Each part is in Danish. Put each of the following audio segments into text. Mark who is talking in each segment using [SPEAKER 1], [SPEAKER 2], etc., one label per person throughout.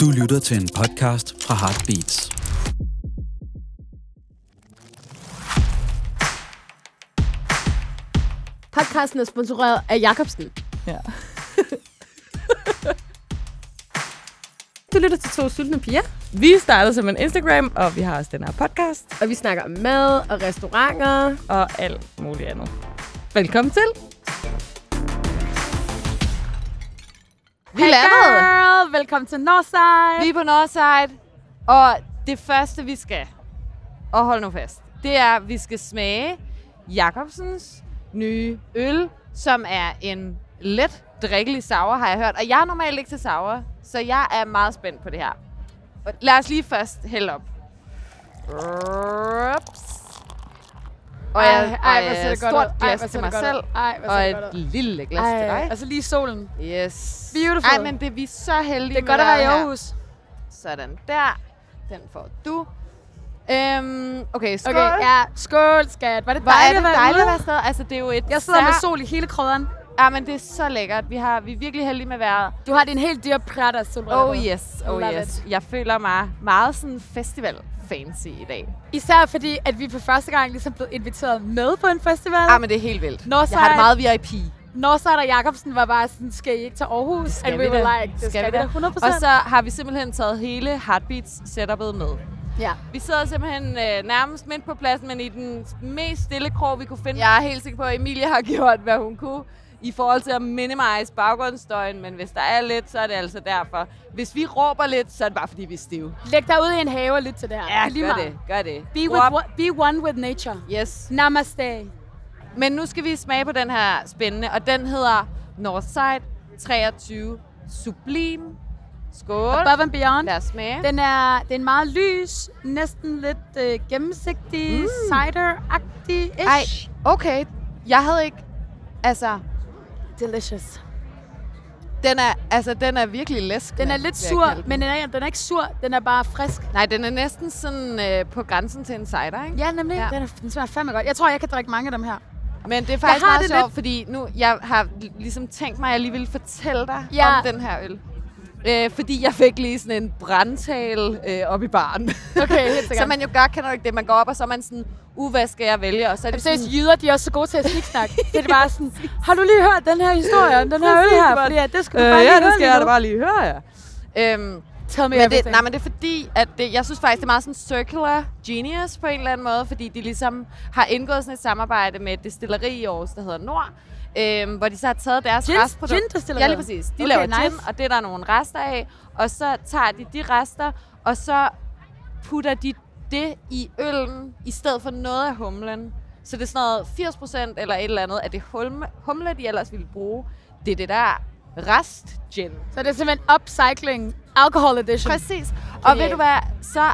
[SPEAKER 1] Du lytter til en podcast fra Heartbeats.
[SPEAKER 2] Podcasten er sponsoreret af Jacobsen.
[SPEAKER 3] Ja.
[SPEAKER 2] Du lytter til to sultne piger,
[SPEAKER 3] Vi startede som en Instagram, og vi har også den her podcast
[SPEAKER 2] og vi snakker om mad og restauranter.
[SPEAKER 3] og alt muligt andet. Velkommen til.
[SPEAKER 2] Vi hey laver
[SPEAKER 4] girl! Velkommen til Northside! Vi er på Northside, og det første, vi skal, og hold nu fast, det er, at vi skal smage Jacobsens nye øl, som er en let drikkelig sour, har jeg hørt. Og jeg er normalt ikke til sour, så jeg er meget spændt på det her. Og Lad os lige først hælde op. Ups. Og jeg, ej, ej, et stort glas til mig selv,
[SPEAKER 5] Ej, hvor
[SPEAKER 4] og
[SPEAKER 5] ser det
[SPEAKER 4] et
[SPEAKER 5] godt ud.
[SPEAKER 4] lille glas til dig.
[SPEAKER 5] Altså lige solen.
[SPEAKER 4] Yes.
[SPEAKER 5] Beautiful.
[SPEAKER 4] Ej, men det er vi så heldige
[SPEAKER 5] Det er godt
[SPEAKER 4] med
[SPEAKER 5] at være i
[SPEAKER 4] vejret her.
[SPEAKER 5] Aarhus.
[SPEAKER 4] Sådan der. Den får du. Øhm, okay, skål.
[SPEAKER 5] Okay, ja. Skål, skat. Var det
[SPEAKER 4] Hvor er
[SPEAKER 5] dejligt
[SPEAKER 4] det
[SPEAKER 5] at være
[SPEAKER 4] dejligt at
[SPEAKER 5] ude?
[SPEAKER 4] være stadig. Altså, det er jo et
[SPEAKER 5] Jeg sidder med
[SPEAKER 4] sær-
[SPEAKER 5] sol i hele krydderen.
[SPEAKER 4] Ja, men det er så lækkert. Vi, har, vi er virkelig heldige med vejret.
[SPEAKER 5] Du har din helt dyre prætter, solbriller.
[SPEAKER 4] Oh yes, oh
[SPEAKER 5] Love
[SPEAKER 4] yes. Jeg føler mig meget sådan festival-fancy i dag.
[SPEAKER 5] Især fordi, at vi for første gang ligesom blev inviteret med på en festival.
[SPEAKER 4] Ja, Ah, men det er helt vildt.
[SPEAKER 5] Northside.
[SPEAKER 4] Jeg har det meget VIP.
[SPEAKER 5] Northside og Jacobsen var bare sådan, skal I ikke til Aarhus?
[SPEAKER 4] skal
[SPEAKER 5] And
[SPEAKER 4] vi
[SPEAKER 5] we were
[SPEAKER 4] da.
[SPEAKER 5] like, det skal,
[SPEAKER 4] Skal vi
[SPEAKER 5] vi da
[SPEAKER 4] da.
[SPEAKER 5] 100%.
[SPEAKER 4] Og så har vi simpelthen taget hele Heartbeats-setupet med.
[SPEAKER 5] ja.
[SPEAKER 4] Vi sidder simpelthen øh, nærmest midt på pladsen, men i den mest stille krog, vi kunne finde. Jeg er helt sikker på, at Emilie har gjort, hvad hun kunne i forhold til at minimize baggrundsstøjen, men hvis der er lidt, så er det altså derfor. Hvis vi råber lidt, så er det bare, fordi vi er stive.
[SPEAKER 5] Læg dig ud i en have og lyt til det her.
[SPEAKER 4] Ja,
[SPEAKER 5] er lige
[SPEAKER 4] gør
[SPEAKER 5] meget.
[SPEAKER 4] det, gør det.
[SPEAKER 5] Be,
[SPEAKER 4] Råb.
[SPEAKER 5] with, one- be one with nature.
[SPEAKER 4] Yes.
[SPEAKER 5] Namaste.
[SPEAKER 4] Men nu skal vi smage på den her spændende, og den hedder Northside 23 Sublime. Skål.
[SPEAKER 5] Above and beyond.
[SPEAKER 4] Lad os smage.
[SPEAKER 5] Den er, det er en meget lys, næsten lidt øh, gennemsigtig, mm. cider-agtig
[SPEAKER 4] Ej,
[SPEAKER 5] ish.
[SPEAKER 4] okay. Jeg havde ikke... Altså,
[SPEAKER 5] delicious.
[SPEAKER 4] den er, altså, den er virkelig læsk.
[SPEAKER 5] Den er lidt sur, men den er, den er ikke sur, den er bare frisk.
[SPEAKER 4] Nej, den er næsten sådan øh, på grænsen til en cider, ikke?
[SPEAKER 5] Ja, nemlig.
[SPEAKER 4] Ja.
[SPEAKER 5] Ja. Den, er, den smager fandme godt. Jeg tror, jeg kan drikke mange af dem her.
[SPEAKER 4] Men det er faktisk
[SPEAKER 5] har
[SPEAKER 4] meget
[SPEAKER 5] det
[SPEAKER 4] sjovt,
[SPEAKER 5] lidt-
[SPEAKER 4] fordi nu, jeg har l- ligesom tænkt mig, at jeg lige ville fortælle dig
[SPEAKER 5] Ja.
[SPEAKER 4] om den her øl. Øh, fordi jeg fik lige sådan en brandtale øh, op i baren.
[SPEAKER 5] Okay, helt
[SPEAKER 4] så man jo godt kender ikke det. Man går op, og så er man sådan, uh, hvad skal jeg vælge? Og så er det
[SPEAKER 5] Jamen, seriøst,
[SPEAKER 4] sådan,
[SPEAKER 5] jyder, de er også så gode til at sniksnakke. det er bare sådan, har du lige hørt den her historie om den her øl
[SPEAKER 4] Præcis,
[SPEAKER 5] her?
[SPEAKER 4] mand. Øh,
[SPEAKER 5] Fordi Øh, ja, det skal du bare lige høre
[SPEAKER 4] lige
[SPEAKER 5] lige nu.
[SPEAKER 4] høre, ja. Øhm,
[SPEAKER 5] Tell me
[SPEAKER 4] men det,
[SPEAKER 5] everything.
[SPEAKER 4] nej, men det er fordi, at det, jeg synes faktisk, det er meget sådan circular genius på en eller anden måde, fordi de ligesom har indgået sådan et samarbejde med et destilleri i Aarhus, der hedder Nord, øhm, hvor de så har taget deres
[SPEAKER 5] Gin-
[SPEAKER 4] restprodukt.
[SPEAKER 5] gin-destilleriet?
[SPEAKER 4] Ja, lige præcis. De
[SPEAKER 5] Okay,
[SPEAKER 4] laver gin,
[SPEAKER 5] nice.
[SPEAKER 4] og det er der nogle rester af, og så tager de de rester, og så putter de det i øllen, i stedet for noget af humlen. Så det er sådan noget 80% eller et eller andet af det humle, humle de ellers ville bruge. Det er det der rest-gin.
[SPEAKER 5] Så det er simpelthen upcycling alcohol edition.
[SPEAKER 4] Præcis. Og ved
[SPEAKER 5] Genialt.
[SPEAKER 4] du hvad, så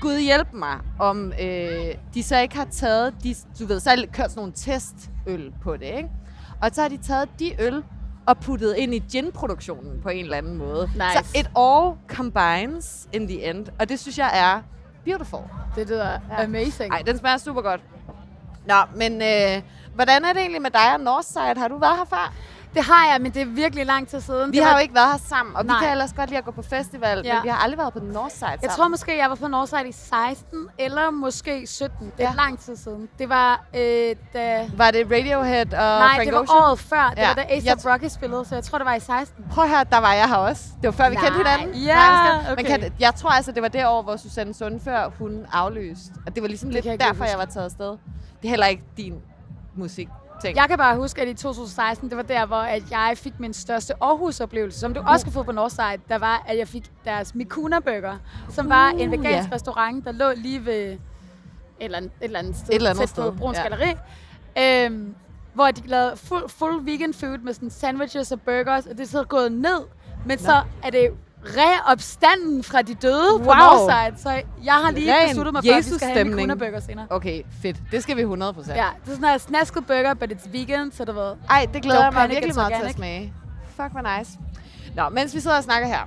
[SPEAKER 4] Gud hjælp mig, om øh, de så ikke har taget, de, du ved, så har de kørt sådan nogle testøl på det, ikke? Og så har de taget de øl og puttet ind i ginproduktionen på en eller anden måde.
[SPEAKER 5] Nice.
[SPEAKER 4] Så it all combines in the end, og det synes jeg er beautiful.
[SPEAKER 5] Det lyder amazing.
[SPEAKER 4] Ej, den smager super godt. Nå, men øh, hvordan er det egentlig med dig og Northside? Har du været her før?
[SPEAKER 5] Det har jeg, men det er virkelig lang tid siden.
[SPEAKER 4] Vi
[SPEAKER 5] Det
[SPEAKER 4] har
[SPEAKER 5] var-
[SPEAKER 4] jo ikke været her sammen, og
[SPEAKER 5] Nej.
[SPEAKER 4] vi kan ellers godt lide at gå på festival,
[SPEAKER 5] Ja.
[SPEAKER 4] men vi har aldrig været på Northside sammen.
[SPEAKER 5] Jeg tror måske, jeg var på Northside i 16 eller måske 17. Det er
[SPEAKER 4] Ja.
[SPEAKER 5] ja. lang tid siden. Det var, øh, da...
[SPEAKER 4] Var det Radiohead og
[SPEAKER 5] Nej,
[SPEAKER 4] Frank
[SPEAKER 5] det var
[SPEAKER 4] Ocean?
[SPEAKER 5] året før. Det
[SPEAKER 4] Ja.
[SPEAKER 5] ja. var da
[SPEAKER 4] Jeg
[SPEAKER 5] A$AP
[SPEAKER 4] tr-
[SPEAKER 5] Rocky spillede, så jeg tror, det var i 16.
[SPEAKER 4] Prøv at høre, der var jeg her også. Det var før, vi
[SPEAKER 5] Nej.
[SPEAKER 4] kendte hinanden.
[SPEAKER 5] Ja,
[SPEAKER 4] Nej, Men
[SPEAKER 5] okay.
[SPEAKER 4] kan, jeg tror altså, det var det år, hvor Susanne Sundfør, hun afløste. Og det var ligesom
[SPEAKER 5] Det
[SPEAKER 4] det
[SPEAKER 5] kan jeg
[SPEAKER 4] lidt
[SPEAKER 5] ikke lige
[SPEAKER 4] derfor,
[SPEAKER 5] huske.
[SPEAKER 4] jeg var taget afsted. Det er heller ikke din musik. Ting.
[SPEAKER 5] Jeg kan bare huske, at i 2016, det var der, hvor at jeg fik min største Aarhus-oplevelse, som du også kan få på Northside. Der var, at jeg fik deres Mikuna Burger, som var
[SPEAKER 4] Uh,
[SPEAKER 5] en vegansk
[SPEAKER 4] ja.
[SPEAKER 5] restaurant, der lå lige ved et eller andet, et eller andet sted,
[SPEAKER 4] Et eller andet
[SPEAKER 5] tæt på
[SPEAKER 4] sted,
[SPEAKER 5] Bruns
[SPEAKER 4] ja.
[SPEAKER 5] Galeri. Øhm, hvor de lavede full, full vegan food med sådan sandwiches og burgers, og det er så gået ned. Men så er det reopstanden fra de døde wow. på
[SPEAKER 4] Wow.
[SPEAKER 5] Northside, så jeg har lige
[SPEAKER 4] Ren
[SPEAKER 5] besluttet mig for, at vi skal have en
[SPEAKER 4] Jesus-stemning.
[SPEAKER 5] Mikuna Burger senere.
[SPEAKER 4] Okay, fedt. Det skal vi 100%.
[SPEAKER 5] Ja, det er sådan en snasket burger, but it's vegan, så du ved.
[SPEAKER 4] Ej, det glæder
[SPEAKER 5] Don't
[SPEAKER 4] jeg mig
[SPEAKER 5] panic,
[SPEAKER 4] virkelig
[SPEAKER 5] it's
[SPEAKER 4] meget til at
[SPEAKER 5] organic.
[SPEAKER 4] smage. Fuck, hvor nice. Nå, mens vi sidder og snakker her,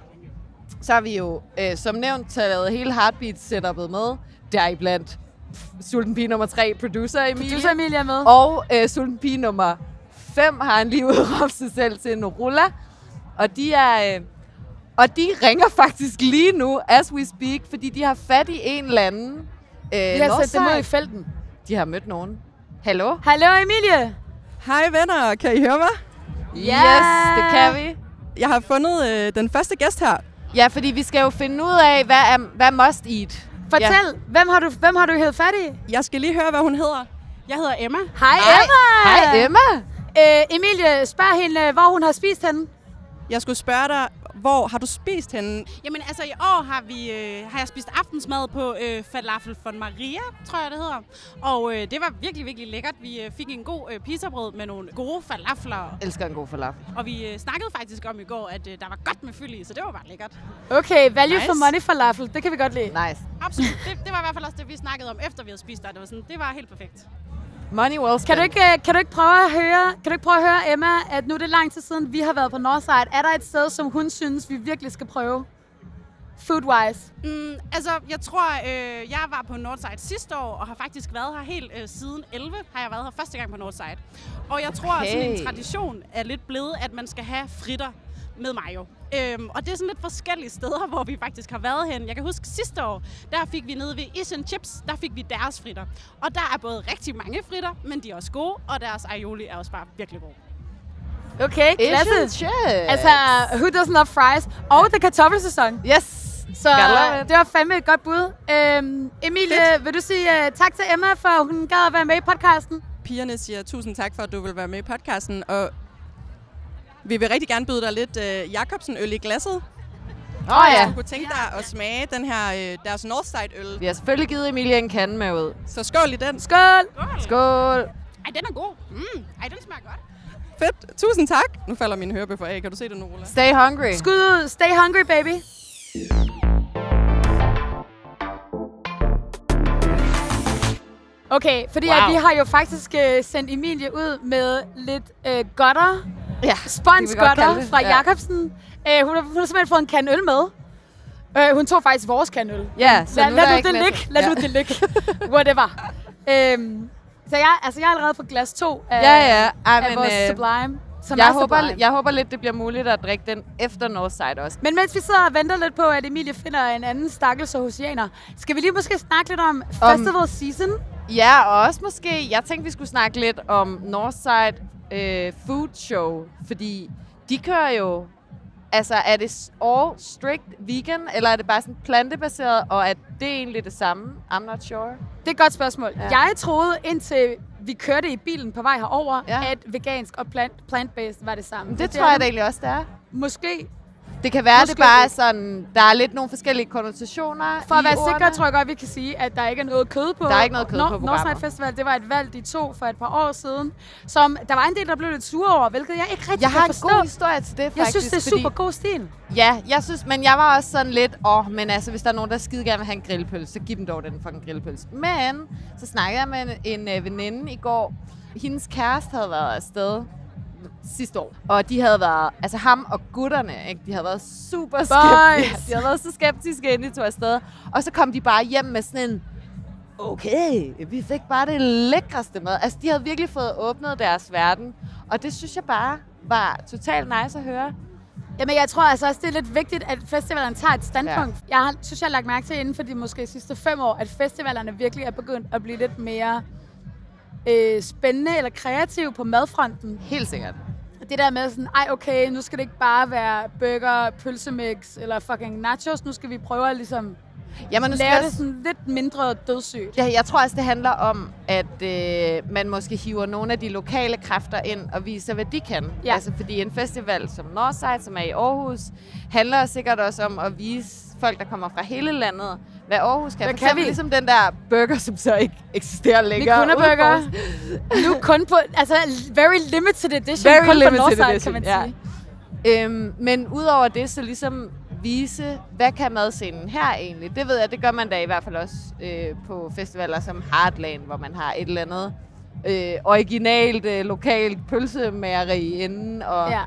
[SPEAKER 4] så har vi jo, øh, som nævnt, taget hele Heartbeat-setupet med. Deriblandt pff, Sulten Pige nummer 3, producer Emilie.
[SPEAKER 5] Du så Emilie er med.
[SPEAKER 4] Og øh, sulten pige nummer 5 har han lige udråbt sig selv til en rulla. Og de er... Øh, Og de ringer faktisk lige nu, as we speak, fordi de har fat i en eller anden. Øh,
[SPEAKER 5] Vi har sat dem ud
[SPEAKER 4] Northside.
[SPEAKER 5] i felten.
[SPEAKER 4] De har mødt nogen. Hallo?
[SPEAKER 5] Hallo Emilie!
[SPEAKER 6] Hej venner, kan I høre mig?
[SPEAKER 4] Yes, det kan vi.
[SPEAKER 6] Jeg har fundet øh, den første gæst her.
[SPEAKER 4] Ja, fordi vi skal jo finde ud af, hvad er, hvad er must eat.
[SPEAKER 5] Fortæl, ja. hvem har du, hvem har du hævet fat i?
[SPEAKER 6] Jeg skal lige høre, hvad hun hedder. Jeg hedder Emma.
[SPEAKER 5] Hej Emma!
[SPEAKER 4] Hej Emma.
[SPEAKER 5] Øh, Emilie, spørg hende, øh, hvor hun har spist henne.
[SPEAKER 6] Jeg skulle spørge dig, hvor har du spist henne?
[SPEAKER 7] Jamen altså i år har, vi, øh, har jeg spist aftensmad på øh, falafel von Maria, tror jeg det hedder. Og øh, det var virkelig, virkelig lækkert. Vi øh, fik en god øh, pizzabrød med nogle gode falafler.
[SPEAKER 4] Elsker en god falafel.
[SPEAKER 7] Og vi øh, snakkede faktisk om i går, at øh, der var godt med fyld i, så det var bare lækkert.
[SPEAKER 5] Okay, value nice. for
[SPEAKER 7] Nice.
[SPEAKER 5] money falafel, det kan vi godt lide.
[SPEAKER 4] Nice.
[SPEAKER 7] Absolut. Det, det var i hvert fald også det, vi snakkede om, efter vi havde spist der. Det var, sådan, det var helt perfekt.
[SPEAKER 4] Money well
[SPEAKER 5] Kan
[SPEAKER 4] spent.
[SPEAKER 5] du, ikke, øh, kan, du ikke prøve at høre, kan du ikke prøve at høre, Emma, at nu er det lang tid siden, vi har været på Northside. Er der et sted, som hun synes, vi virkelig skal prøve? Foodwise.
[SPEAKER 7] Mm, altså, jeg tror, øh, jeg var på Northside sidste år, og har faktisk været her helt øh, siden 11, har jeg været her første gang på Northside. Og jeg tror, okay. sådan
[SPEAKER 4] Okay.
[SPEAKER 7] en tradition er lidt blevet, at man skal have fritter med mayo. Øhm, og det er sådan lidt forskellige steder, hvor vi faktisk har været hen. Jeg kan huske sidste år, der fik vi nede ved Asian Chips, der fik vi deres fritter. Og der er både rigtig mange fritter, men de er også gode, og deres aioli er også bare virkelig god.
[SPEAKER 5] Okay,
[SPEAKER 4] Asian
[SPEAKER 5] klasse.
[SPEAKER 4] chef.
[SPEAKER 5] Altså, who doesn't love fries? Og det er kartoffelsæson.
[SPEAKER 4] yes.
[SPEAKER 5] Så
[SPEAKER 4] Gotta love it.
[SPEAKER 5] det var fandme et godt bud. Øhm, Emilie, vil du sige uh, tak til Emma, for at hun gad at være med i podcasten?
[SPEAKER 6] Pigerne siger tusind tak for, at du vil være med i podcasten. Og vi vil rigtig gerne byde dig lidt øh, Jacobsen-øl i glasset.
[SPEAKER 4] Åh oh, ja.
[SPEAKER 6] Du kunne tænke dig at smage den her, øh, deres Northside-øl.
[SPEAKER 4] Vi har selvfølgelig givet Emilie en kande med ud.
[SPEAKER 6] Så skål i den.
[SPEAKER 5] Skål!
[SPEAKER 4] Skål.
[SPEAKER 7] Ej, den er god. Mm, ej, den smager godt.
[SPEAKER 6] Fedt. Tusind tak. Nu falder min hørebøffer af. Kan du se det nu, Ola?
[SPEAKER 4] Stay hungry.
[SPEAKER 5] Skud ud. Stay hungry, baby. Okay, fordi wow. at vi har jo faktisk øh, sendt Emilie ud med lidt øh, godter,
[SPEAKER 4] Ja,
[SPEAKER 5] sponsgodter
[SPEAKER 4] kalde det,
[SPEAKER 5] fra
[SPEAKER 4] ja.
[SPEAKER 5] ja. Jacobsen. Øh, hun, har, hun har simpelthen fået en kan øl med. Øh, hun tog faktisk vores kan øl.
[SPEAKER 4] Ja, så
[SPEAKER 5] lad,
[SPEAKER 4] nu
[SPEAKER 5] lad
[SPEAKER 4] er der
[SPEAKER 5] nu
[SPEAKER 4] ikke
[SPEAKER 5] det
[SPEAKER 4] mere-
[SPEAKER 5] ligge, lad
[SPEAKER 4] ja.
[SPEAKER 5] nu det ligge. Whatever. øhm, så jeg, altså jeg er allerede på glas 2 af,
[SPEAKER 4] Ja, ja. Ej,
[SPEAKER 5] af
[SPEAKER 4] men,
[SPEAKER 5] vores
[SPEAKER 4] øh,
[SPEAKER 5] Sublime. Som
[SPEAKER 4] jeg,
[SPEAKER 5] er
[SPEAKER 4] håber,
[SPEAKER 5] Sublime.
[SPEAKER 4] jeg håber lidt, det bliver muligt at drikke den efter Northside også.
[SPEAKER 5] Men mens vi sidder og venter lidt på, at Emilie finder en anden stakkels Aarhusianer, skal vi lige måske snakke lidt om, festival season.
[SPEAKER 4] Ja, og også måske, jeg tænkte, vi skulle snakke lidt om Northside øh, Food Show, fordi de kører jo, altså er det s- all strict vegan, eller er det bare sådan plantebaseret, og er det egentlig det samme? I'm not sure.
[SPEAKER 5] Det er et godt spørgsmål.
[SPEAKER 4] Ja.
[SPEAKER 5] Ja. Jeg troede, indtil vi kørte i bilen på vej herover,
[SPEAKER 4] Ja.
[SPEAKER 5] ja. at vegansk og plant- plant-based var det samme.
[SPEAKER 4] Men
[SPEAKER 5] Men
[SPEAKER 4] det tror jeg
[SPEAKER 5] er
[SPEAKER 4] da egentlig også, det er.
[SPEAKER 5] Måske.
[SPEAKER 4] Det kan være, det
[SPEAKER 5] Måske
[SPEAKER 4] bare er
[SPEAKER 5] ikke.
[SPEAKER 4] sådan, der er lidt nogle forskellige konnotationer
[SPEAKER 5] For at
[SPEAKER 4] i
[SPEAKER 5] være
[SPEAKER 4] ordene.
[SPEAKER 5] sikre, tror jeg godt, vi kan sige, at der ikke er noget kød på.
[SPEAKER 4] Der er ikke noget kød på programmet.
[SPEAKER 5] Northside Festival, det var et valg, de to for et par år siden, som der var en del, der blev lidt sure over, hvilket jeg ikke rigtig
[SPEAKER 4] Jeg
[SPEAKER 5] kan
[SPEAKER 4] har en
[SPEAKER 5] forstå.
[SPEAKER 4] god historie til det, faktisk.
[SPEAKER 5] jeg synes, det er
[SPEAKER 4] fordi-
[SPEAKER 5] super god stil.
[SPEAKER 4] Ja, jeg synes, men jeg var også sådan lidt, åh, men altså, hvis der er nogen, der skide gerne vil have en grillpølse, så giv dem dog den fucking grillpølse. Men så snakkede jeg med en, en øh, veninde i går. Hendes kæreste havde været afsted sidste år. Og de havde været, altså ham og gutterne, ikke? de havde været super skeptiske. Ja,
[SPEAKER 5] Boys.
[SPEAKER 4] de havde været så skeptiske, inden de tog afsted. Og så kom de bare hjem med sådan en, okay, vi fik bare det lækreste mad. Altså, de havde virkelig fået åbnet deres verden. Og det synes jeg bare var totalt nice at høre.
[SPEAKER 5] Jamen, jeg tror altså også, det er lidt vigtigt, at festivalerne tager et standpunkt. Ja. Jeg har, synes, jeg har lagt mærke til inden for de måske sidste fem år, at festivalerne virkelig er begyndt at blive lidt mere øh, spændende eller kreative på madfronten.
[SPEAKER 4] Helt sikkert.
[SPEAKER 5] Det der med sådan, ej okay, nu skal det ikke bare være burger, pølsemix eller fucking nachos. Nu skal vi prøve at ligesom
[SPEAKER 4] Jamen, nu skal
[SPEAKER 5] lave
[SPEAKER 4] jeg
[SPEAKER 5] det sådan lidt mindre dødssygt.
[SPEAKER 4] Ja, jeg tror også, det handler om, at øh, man måske hiver nogle af de lokale kræfter ind og viser, hvad de kan.
[SPEAKER 5] Ja.
[SPEAKER 4] Altså, fordi en festival som Northside, som er i Aarhus, handler sikkert også om at vise folk, der kommer fra hele landet, hvad Aarhus kan.
[SPEAKER 5] Hvad
[SPEAKER 4] For
[SPEAKER 5] kan
[SPEAKER 4] eksempel
[SPEAKER 5] vi?
[SPEAKER 4] ligesom den der burger, som så ikke eksisterer længere. ude på
[SPEAKER 5] Mikundeburger.
[SPEAKER 4] Aarhus.
[SPEAKER 5] Nu kun på, altså very limited edition,
[SPEAKER 4] Very
[SPEAKER 5] kun
[SPEAKER 4] limited
[SPEAKER 5] på Northside,
[SPEAKER 4] edition,
[SPEAKER 5] kan man
[SPEAKER 4] ja.
[SPEAKER 5] sige.
[SPEAKER 4] Øhm, men udover det, så ligesom vise, hvad kan madscenen her egentlig? Det ved jeg, det gør man da i hvert fald også øh, på festivaler som Heartland, hvor man har et eller andet øh, originalt, øh, lokalt pølsemageri inden. Og,
[SPEAKER 5] Ja.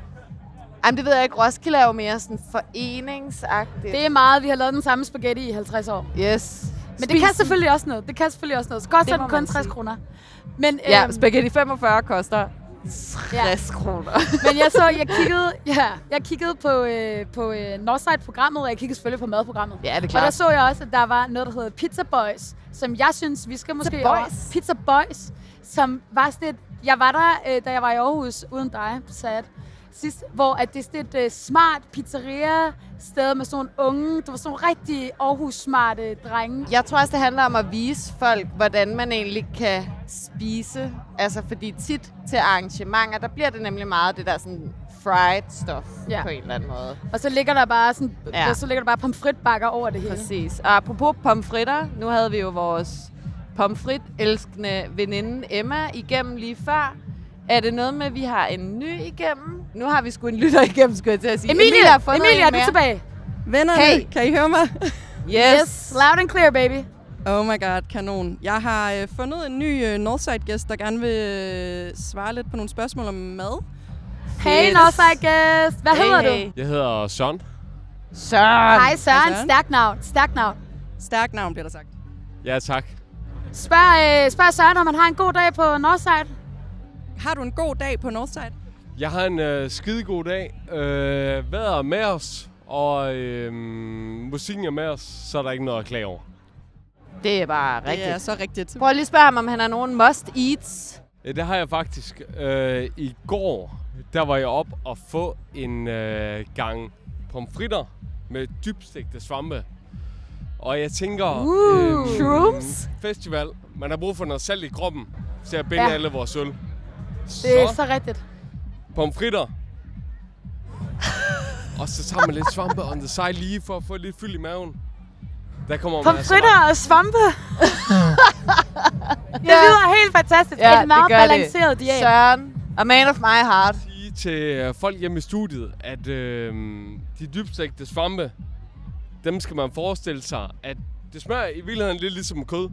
[SPEAKER 4] Jamen, det ved jeg ikke. Roskilde er jo mere sådan foreningsagtigt.
[SPEAKER 5] Det er meget, vi har lavet den samme spaghetti i 50 år.
[SPEAKER 4] yes.
[SPEAKER 5] Men det kan selvfølgelig også noget. Det kan selvfølgelig også noget. Så godt, så
[SPEAKER 4] Det
[SPEAKER 5] er
[SPEAKER 4] må
[SPEAKER 5] den
[SPEAKER 4] man
[SPEAKER 5] kun 60
[SPEAKER 4] sige.
[SPEAKER 5] kroner. Men,
[SPEAKER 4] Ja,
[SPEAKER 5] øhm,
[SPEAKER 4] spaghetti 45 koster
[SPEAKER 5] Ja.
[SPEAKER 4] 60 kroner.
[SPEAKER 5] Men jeg så, jeg kiggede, ja, jeg kiggede på, øh, på øh, Northside-programmet, og jeg kiggede selvfølgelig på madprogrammet.
[SPEAKER 4] ja, det er
[SPEAKER 5] Og der
[SPEAKER 4] klart.
[SPEAKER 5] så jeg også, at der var noget, der hedder Pizza Boys, som jeg synes, vi skal måske... over-
[SPEAKER 4] Boys?
[SPEAKER 5] Pizza Boys, som var sådan et... Jeg var der, øh, da jeg var i Aarhus, uden dig, sad sidst, hvor at det er sådan et øh, smart pizzeria-sted med sådan nogle unge... Det var sådan nogle rigtig Aarhus-smarte drenge.
[SPEAKER 4] Jeg tror også, det handler om at vise folk, hvordan man egentlig kan spise. Altså, fordi tit til arrangementer, der bliver det nemlig meget det der sådan fried stuff ja.
[SPEAKER 5] Ja.
[SPEAKER 4] på en eller anden måde.
[SPEAKER 5] Og så ligger der bare sådan...
[SPEAKER 4] Ja.
[SPEAKER 5] Ja. Så ligger der bare pomfritbakker over det hele.
[SPEAKER 4] Præcis. Og apropos pomfritter, nu havde vi jo vores pomfrit-elskende veninde Emma igennem lige før. Er det noget med, at vi har en ny igennem? Nu har vi sgu en lytter igennem, skulle jeg til at sige.
[SPEAKER 5] Emilie,
[SPEAKER 4] har fundet
[SPEAKER 5] Emilie,
[SPEAKER 4] en
[SPEAKER 5] er du
[SPEAKER 4] mere.
[SPEAKER 5] tilbage?
[SPEAKER 6] Vennerne,
[SPEAKER 4] Hey.
[SPEAKER 6] hey. kan I høre mig?
[SPEAKER 4] Yes.
[SPEAKER 5] Yes, loud and clear, baby.
[SPEAKER 6] Oh my god, kanon. Jeg har øh, fundet en ny øh, Northside-gæst, der gerne vil øh, svare lidt på nogle spørgsmål om mad.
[SPEAKER 5] Hey,
[SPEAKER 4] Yes.
[SPEAKER 5] Northside guest. Hvad hedder du?
[SPEAKER 8] Jeg hedder Søren.
[SPEAKER 4] Søren.
[SPEAKER 5] Hej Søren,
[SPEAKER 6] Søren.
[SPEAKER 5] stærkt navn, stærkt navn.
[SPEAKER 6] Stærkt navn, bliver der sagt.
[SPEAKER 8] Ja, tak.
[SPEAKER 5] Spørg, øh, spørg Søren, om han har en god dag på Northside.
[SPEAKER 6] Har du en god dag på Northside?
[SPEAKER 8] Jeg har en øh, skidegod dag. Øh, vejret er med os, og øh, musikken er med os, så er der ikke noget at klage over.
[SPEAKER 4] Det er bare
[SPEAKER 6] Det er
[SPEAKER 4] rigtigt.
[SPEAKER 6] så rigtigt.
[SPEAKER 4] Prøv lige at spørge ham, om han har nogen must-eats.
[SPEAKER 8] Ja, det har jeg faktisk. Øh, I går, der var jeg op og få en øh, gang pomfritter med dybstegte svampe. Og jeg tænker, øh,
[SPEAKER 5] Uh, shrooms?
[SPEAKER 8] festival, man har brug for noget salt i kroppen til at binde ja.
[SPEAKER 5] Ja.
[SPEAKER 8] alle vores øl. Så,
[SPEAKER 5] Det er så rigtigt.
[SPEAKER 8] pomfritter. og så tager man lidt svampe on the side lige for at få lidt fyld i maven. Der kommer man altså
[SPEAKER 5] Pomfritter
[SPEAKER 8] ret-
[SPEAKER 5] og svampe. det lyder helt fantastisk. Ja, en meget balanceret diæt.
[SPEAKER 4] Søren, a man of my heart.
[SPEAKER 8] sige til øh, folk hjemme i studiet, at øh, de dybstægte svampe, dem skal man forestille sig, at det smager i virkeligheden lidt ligesom kød.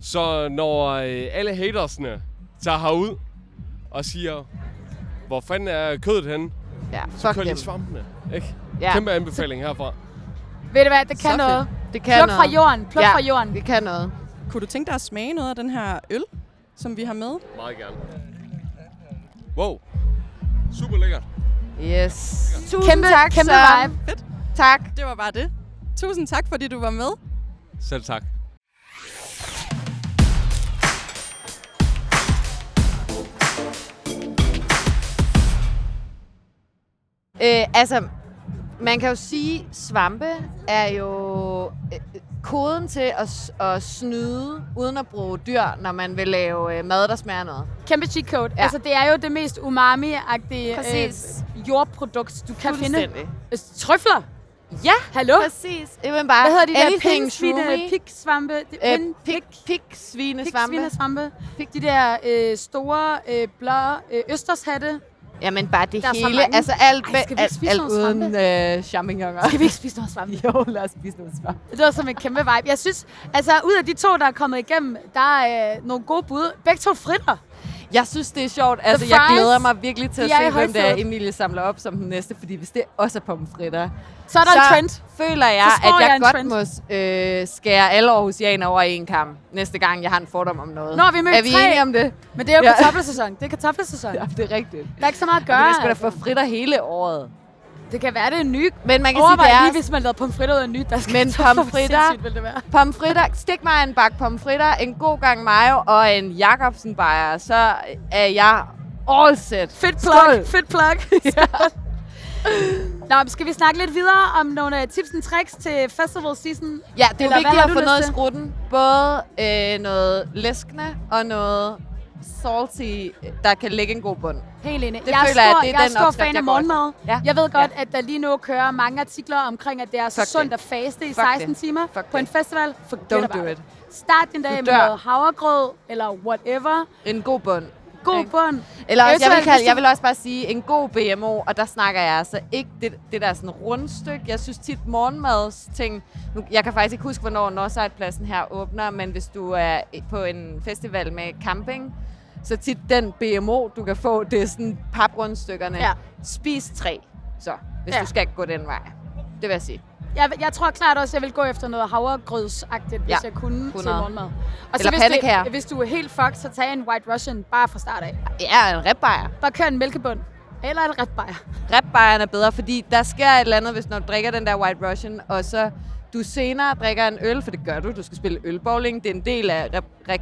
[SPEAKER 8] Så når øh, alle hatersne tager herud og siger, hvor fanden er kødet henne,
[SPEAKER 4] Ja,
[SPEAKER 8] så
[SPEAKER 4] fuck
[SPEAKER 8] kør lige
[SPEAKER 4] dem.
[SPEAKER 8] svampene. Ikke?
[SPEAKER 4] Ja.
[SPEAKER 8] Kæmpe anbefaling herfra.
[SPEAKER 5] Ved du hvad, det kan
[SPEAKER 6] Så fedt.
[SPEAKER 5] noget.
[SPEAKER 4] Det kan
[SPEAKER 5] Pluk
[SPEAKER 4] noget.
[SPEAKER 5] fra jorden, pluk
[SPEAKER 4] Ja.
[SPEAKER 5] fra jorden.
[SPEAKER 4] Det kan noget.
[SPEAKER 6] Kunne du tænke dig at smage noget af den her øl, som vi har med?
[SPEAKER 8] Meget gerne. Wow. Super lækkert.
[SPEAKER 4] Yes. Tusind
[SPEAKER 5] Kæmpe,
[SPEAKER 4] tak,
[SPEAKER 5] kæmpe
[SPEAKER 4] Søren.
[SPEAKER 5] vibe.
[SPEAKER 4] Tak.
[SPEAKER 6] Det var bare det. Tusind tak, fordi du var med.
[SPEAKER 8] Selv tak.
[SPEAKER 4] Øh, altså, man kan jo sige, svampe er jo øh, koden til at, s- at snyde uden at bruge dyr, når man vil lave øh, mad, der smager af noget.
[SPEAKER 5] Kæmpe cheat code.
[SPEAKER 4] Ja.
[SPEAKER 5] Ja. Altså, det er jo det mest umami-agtige øh,
[SPEAKER 4] Præcis.
[SPEAKER 5] jordprodukt, du kan finde.
[SPEAKER 4] Fuldstændig.
[SPEAKER 5] Øh, Trøfler.
[SPEAKER 4] Ja,
[SPEAKER 5] Hallo?
[SPEAKER 4] præcis. Even bare
[SPEAKER 5] Hvad hedder de der
[SPEAKER 4] anything
[SPEAKER 5] pindsvine,
[SPEAKER 4] shroomy.
[SPEAKER 5] piksvampe? Det-
[SPEAKER 4] Øh,
[SPEAKER 5] pind-
[SPEAKER 4] pik, pik, svine, svampe.
[SPEAKER 5] Piksvinesvampe. De der øh, store, øh, blå øh, østershatte.
[SPEAKER 4] Jamen bare det
[SPEAKER 5] Der er så
[SPEAKER 4] hele.
[SPEAKER 5] mange.
[SPEAKER 4] Altså alt,
[SPEAKER 5] Ej, skal
[SPEAKER 4] alt,
[SPEAKER 5] vi ikke spise
[SPEAKER 4] alt
[SPEAKER 5] nogle svampe?
[SPEAKER 4] uden øh, champignoner.
[SPEAKER 5] Skal vi ikke spise noget svampe?
[SPEAKER 4] Jo, lad os spise nogle svampe.
[SPEAKER 5] Det lyder som en kæmpe vibe. Jeg synes, altså ud af de to, der er kommet igennem, der er øh, nogle gode bud. Begge to fritter.
[SPEAKER 4] Jeg synes, det er sjovt. Altså, jeg
[SPEAKER 5] fries,
[SPEAKER 4] glæder mig virkelig til at
[SPEAKER 5] de er i
[SPEAKER 4] se, hvem det er,
[SPEAKER 5] højsædet.
[SPEAKER 4] Emilie samler op som den næste. Fordi hvis det også er pomfritter,
[SPEAKER 5] Så er der en trend.
[SPEAKER 4] føler jeg,
[SPEAKER 5] Så
[SPEAKER 4] at
[SPEAKER 5] spår
[SPEAKER 4] jeg,
[SPEAKER 5] jeg en
[SPEAKER 4] godt
[SPEAKER 5] trend.
[SPEAKER 4] må øh, skære alle Aarhusianer over en kamp, næste gang jeg har en fordom om noget.
[SPEAKER 5] Nå, vi mødte
[SPEAKER 4] er vi
[SPEAKER 5] tre.
[SPEAKER 4] enige om det?
[SPEAKER 5] Men det er jo
[SPEAKER 4] Ja.
[SPEAKER 5] ja. kartoffelsæson. Det er kartoffelsæson.
[SPEAKER 4] Ja,
[SPEAKER 5] Ja.
[SPEAKER 4] det er rigtigt.
[SPEAKER 5] Der er ikke så meget at
[SPEAKER 4] Men
[SPEAKER 5] gøre.
[SPEAKER 4] jeg skal da få fritter hele året.
[SPEAKER 5] Det kan være, det er en ny.
[SPEAKER 4] Men man kan
[SPEAKER 5] Overvej
[SPEAKER 4] sige,
[SPEAKER 5] lige,
[SPEAKER 4] det er
[SPEAKER 5] hvis man lavede pomfritter ud af en ny. Der skal
[SPEAKER 4] Men
[SPEAKER 5] kartoffer. Hvor
[SPEAKER 4] pomfritter-
[SPEAKER 5] sindssygt ville det være.
[SPEAKER 4] pomfritter. Stik mig en bakke pomfritter, en god gang mayo og en Jacobsen bajer, så er jeg all set.
[SPEAKER 5] Fedt plug. Fedt plug. Nå, men skal vi snakke lidt videre om nogle øh, tips og tricks til festival season?
[SPEAKER 4] Ja, det er
[SPEAKER 5] Eller
[SPEAKER 4] jo
[SPEAKER 5] hvad
[SPEAKER 4] vigtigt
[SPEAKER 5] har
[SPEAKER 4] at
[SPEAKER 5] du
[SPEAKER 4] få
[SPEAKER 5] lyst
[SPEAKER 4] noget i
[SPEAKER 5] til?
[SPEAKER 4] skrutten. Både øh, noget læskende og noget salty, der kan lægge en god bund.
[SPEAKER 5] Helt enig.
[SPEAKER 4] Det
[SPEAKER 5] jeg
[SPEAKER 4] føler jeg,
[SPEAKER 5] er stor,
[SPEAKER 4] det er
[SPEAKER 5] jeg er
[SPEAKER 4] den
[SPEAKER 5] stor
[SPEAKER 4] opskrift,
[SPEAKER 5] fan
[SPEAKER 4] jeg
[SPEAKER 5] af
[SPEAKER 4] går
[SPEAKER 5] morgenmad.
[SPEAKER 4] efter. Ja.
[SPEAKER 5] Jeg ved godt, at der lige nu kører mange artikler omkring, at det er så
[SPEAKER 4] Fuck
[SPEAKER 5] sundt
[SPEAKER 4] det.
[SPEAKER 5] at faste i
[SPEAKER 4] Fuck
[SPEAKER 5] 16
[SPEAKER 4] det.
[SPEAKER 5] timer
[SPEAKER 4] Fuck
[SPEAKER 5] på
[SPEAKER 4] det.
[SPEAKER 5] en festival. Forget
[SPEAKER 4] Don't
[SPEAKER 5] about
[SPEAKER 4] do it.
[SPEAKER 5] Start din
[SPEAKER 4] Du
[SPEAKER 5] dag med
[SPEAKER 4] dør.
[SPEAKER 5] noget havregrød eller whatever.
[SPEAKER 4] En god bund.
[SPEAKER 5] God
[SPEAKER 4] Ikke?
[SPEAKER 5] bund.
[SPEAKER 4] Eller også, jeg, vil
[SPEAKER 5] Eventuelt,
[SPEAKER 4] kalde,
[SPEAKER 5] hvis
[SPEAKER 4] jeg
[SPEAKER 5] du-
[SPEAKER 4] vil også bare sige en god BMO, og der snakker jeg altså ikke det, det der sådan rundstykke. Jeg synes tit morgenmadsting, nu, jeg kan faktisk ikke huske, hvornår Northside-pladsen her åbner, men hvis du er på en festival med camping, så tit den BMO, du kan få, det er sådan paprundstykkerne.
[SPEAKER 5] Ja.
[SPEAKER 4] Spis tre, så, hvis ja.
[SPEAKER 5] Ja.
[SPEAKER 4] du skal gå den vej. Det vil jeg sige.
[SPEAKER 5] Jeg, jeg tror klart også, at jeg vil gå efter noget havregrødsagtigt,
[SPEAKER 4] Ja,
[SPEAKER 5] ja. hvis jeg kunne 100. til
[SPEAKER 4] 100.
[SPEAKER 5] morgenmad. Og
[SPEAKER 4] Eller
[SPEAKER 5] hvis,
[SPEAKER 4] pandekager.
[SPEAKER 5] det, hvis du er helt fucked, så tag en white russian bare fra start af.
[SPEAKER 4] Ja, en ribbejer.
[SPEAKER 5] Bare kør en mælkebund. Eller en retbejer.
[SPEAKER 4] Ribbejeren er bedre, fordi der sker et eller andet, hvis når du drikker den der White Russian, og så du senere drikker en øl, for det gør du, du skal spille ølbowling, det er en del af re-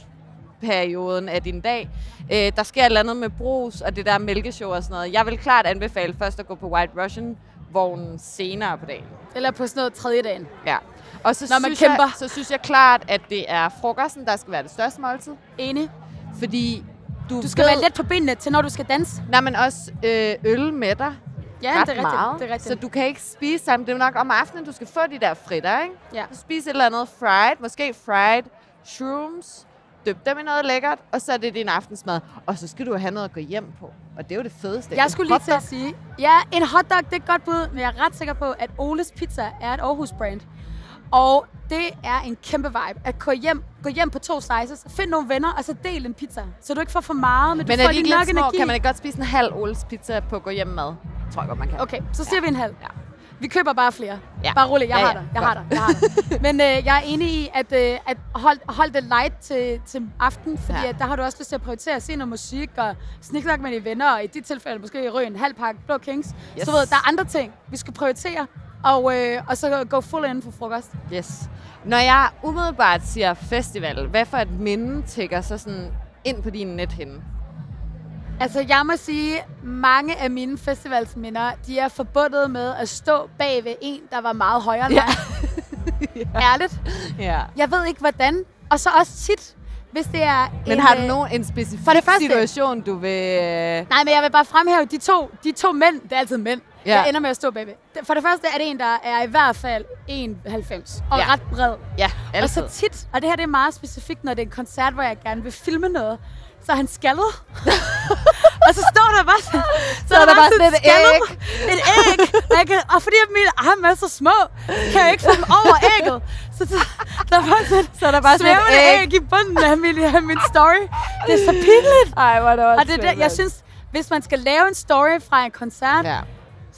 [SPEAKER 4] rekreationsperioden af din dag. Øh, der sker et eller andet med brus og det der mælkeshow og sådan noget. Jeg vil klart anbefale først at gå på White Russian-vognen senere på dagen.
[SPEAKER 5] Eller på sådan noget tredje dagen.
[SPEAKER 4] Ja. Og så,
[SPEAKER 5] Når man
[SPEAKER 4] synes
[SPEAKER 5] kæmper.
[SPEAKER 4] Jeg, så synes jeg klart, at det er frokosten, der skal være det største måltid.
[SPEAKER 5] Enig.
[SPEAKER 4] Fordi du,
[SPEAKER 5] Du skal
[SPEAKER 4] ved,
[SPEAKER 5] være let på benene til, når du skal danse.
[SPEAKER 4] Nej, men også øh, øl med dig
[SPEAKER 5] Ja,
[SPEAKER 4] ret
[SPEAKER 5] det er rigtigt.
[SPEAKER 4] meget.
[SPEAKER 5] Det er rigtigt.
[SPEAKER 4] Så du kan ikke spise sammen. Det er jo nok om aftenen, du skal få de der fritter, ikke?
[SPEAKER 5] Ja.
[SPEAKER 4] Du spiser et eller andet fried, måske fried shrooms, døb dem i noget lækkert, og så er det din aftensmad. Og så skal du have noget at gå hjem på. Og det er jo det fedeste. En
[SPEAKER 5] Jeg skulle lige til
[SPEAKER 4] hotdog.
[SPEAKER 5] at sige, ja, en hotdog, det er et godt bud, men jeg er ret sikker på, at Oles Pizza er et Aarhus-brand. Og det er en kæmpe vibe at gå hjem, gå hjem på to slices, find nogle venner, og så del en pizza. Så du ikke får for meget, men,
[SPEAKER 4] Men
[SPEAKER 5] du
[SPEAKER 4] er
[SPEAKER 5] får
[SPEAKER 4] de
[SPEAKER 5] lige
[SPEAKER 4] ikke lidt
[SPEAKER 5] nok
[SPEAKER 4] små,
[SPEAKER 5] energi.
[SPEAKER 4] kan man ikke godt spise en halv Oles pizza på at gå hjem med? Tror jeg godt, man kan.
[SPEAKER 5] Okay, så siger ja. vi en halv.
[SPEAKER 4] Ja.
[SPEAKER 5] Ja. Vi køber bare flere.
[SPEAKER 4] Ja.
[SPEAKER 5] Ja. Bare rolig, jeg
[SPEAKER 4] Ja,
[SPEAKER 5] ja,
[SPEAKER 4] ja.
[SPEAKER 5] har dig, jeg har dig, jeg har dig. Men øh, jeg er enig i, at, øh, at hold, hold det light til, til aften, fordi
[SPEAKER 4] Ja.
[SPEAKER 5] ja. at der har du også lyst til at prioritere at se noget musik og sniksnak med dine venner, og i dit tilfælde måske ryge en halv pakke Blå Kings. Yes.
[SPEAKER 4] Yes.
[SPEAKER 5] Så ved, der er andre ting, vi skal prioritere, og, øh, og så gå full in for frokost.
[SPEAKER 4] Yes. Når jeg umiddelbart siger festival, hvad for et minde tækker så sådan ind på din nethinde?
[SPEAKER 5] Altså, jeg må sige, mange af mine festivalsminder, de er forbundet med at stå bag ved en, der var meget højere end mig. ja. Ærligt.
[SPEAKER 4] Ja.
[SPEAKER 5] Jeg ved ikke, hvordan. Og så også tit, hvis det er...
[SPEAKER 4] Men
[SPEAKER 5] en,
[SPEAKER 4] har du
[SPEAKER 5] øh,
[SPEAKER 4] nogen en specifik
[SPEAKER 5] for det første-
[SPEAKER 4] situation, du vil... øh,
[SPEAKER 5] Nej, men jeg vil bare fremhæve de to, de to mænd. Det er altid mænd.
[SPEAKER 4] Ja.
[SPEAKER 5] Ja. Jeg ender med at stå bagved. For det første er det en, der er i hvert fald 1,90 og
[SPEAKER 4] Ja.
[SPEAKER 5] ja. ret bred.
[SPEAKER 4] Ja,
[SPEAKER 5] Og så tit, og det her det er meget specifikt, når det er en koncert, hvor jeg gerne vil filme noget, så er han skaldet. og så står der bare, så, så
[SPEAKER 4] er der bare sådan et
[SPEAKER 5] skaldet- Et æg. Og, jeg kan, og fordi at mine arme er så små, kan jeg ikke få dem over ægget. Så, så der er bare sådan,
[SPEAKER 4] Så er der bare sådan et
[SPEAKER 5] svævende
[SPEAKER 4] æg.
[SPEAKER 5] æg. i bunden af min, af min story. Det er så pinligt.
[SPEAKER 4] Ej, hvor er det også
[SPEAKER 5] Og det er der, jeg synes, hvis man skal lave en story fra en koncert, ja.
[SPEAKER 4] Ja.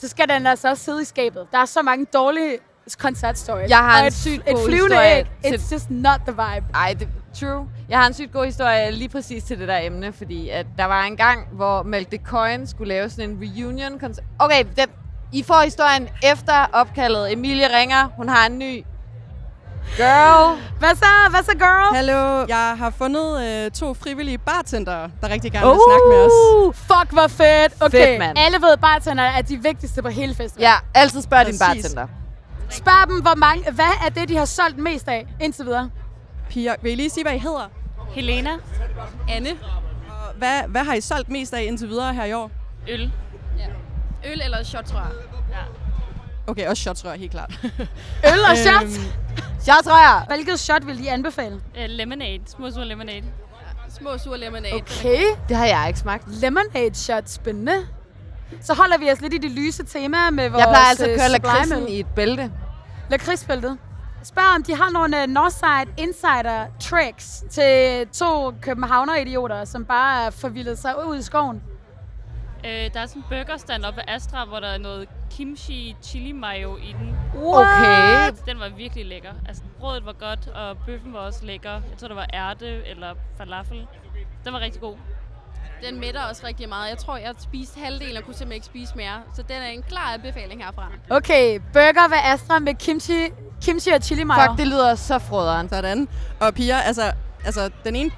[SPEAKER 5] så skal den altså også sidde i skabet. Der er så mange dårlige koncertstories.
[SPEAKER 4] Jeg har
[SPEAKER 5] Og
[SPEAKER 4] en
[SPEAKER 5] et,
[SPEAKER 4] sygt
[SPEAKER 5] et
[SPEAKER 4] god
[SPEAKER 5] flyvende
[SPEAKER 4] historie
[SPEAKER 5] æg,
[SPEAKER 4] til-
[SPEAKER 5] it's just not the vibe.
[SPEAKER 4] Ej, det, true. Jeg har en sygt god historie lige præcis til det der emne, fordi at der var en gang, hvor Malte Coyne skulle lave sådan en reunion koncert. Okay, den, I får historien efter opkaldet. Emilie ringer, hun har en ny girl.
[SPEAKER 5] Hvad så, hvad så girl?
[SPEAKER 6] Hallo, jeg har fundet øh, to frivillige bartendere, der rigtig gerne vil snakke med os.
[SPEAKER 5] Uh, fuck, hvor fedt. Okay,
[SPEAKER 4] Fedt, mand.
[SPEAKER 5] alle ved, bartender er de vigtigste på hele festivalen.
[SPEAKER 4] Ja, altid spørg din
[SPEAKER 6] Præcis.
[SPEAKER 4] bartender.
[SPEAKER 5] Spørg dem, hvor mange, hvad er det, de har solgt mest af indtil videre?
[SPEAKER 6] Piger, vil I lige sige, hvad I hedder?
[SPEAKER 7] Helena. Anne.
[SPEAKER 6] Og Hvad, hvad har I solgt mest af indtil videre her i år?
[SPEAKER 9] Øl. Ja. Øl eller shot, tror jeg.
[SPEAKER 6] Okay, også shots, tror jeg helt klart.
[SPEAKER 5] Øl og shots.
[SPEAKER 4] Jeg tror jeg.
[SPEAKER 5] Hvilket shot vil de anbefale?
[SPEAKER 9] Øh, lemonade. Små sur lemonade. Små sur lemonade.
[SPEAKER 5] Okay,
[SPEAKER 4] Det har jeg ikke smagt.
[SPEAKER 5] lemonade shot, spændende. Så holder vi os lidt i det lyse tema med vores
[SPEAKER 4] Jeg plejer altså at
[SPEAKER 5] øh,
[SPEAKER 4] køre
[SPEAKER 5] Sublime
[SPEAKER 4] lakridsen
[SPEAKER 5] øl.
[SPEAKER 4] i et bælte.
[SPEAKER 5] Lakridsbæltet. Spørg om de har nogle uh, Northside Insider tricks til to københavner-idioter, som bare er forvildet sig ud i skoven.
[SPEAKER 9] Øh, der er sådan en burgerstand oppe ved Astra, hvor der er noget kimchi chili mayo i den.
[SPEAKER 4] Okay.
[SPEAKER 9] Den var virkelig lækker. Altså, brødet var godt, og bøffen var også lækker. Jeg tror, der var ærte eller falafel. Den var rigtig god.
[SPEAKER 10] Den mætter også rigtig meget. Jeg tror, jeg spiste halvdelen og kunne simpelthen ikke spise mere. Så den er en klar anbefaling herfra.
[SPEAKER 5] Okay, burger ved Astra med kimchi, kimchi og chili mayo.
[SPEAKER 4] Fuck, det lyder så froderen.
[SPEAKER 3] Sådan. Og piger, altså, altså den ene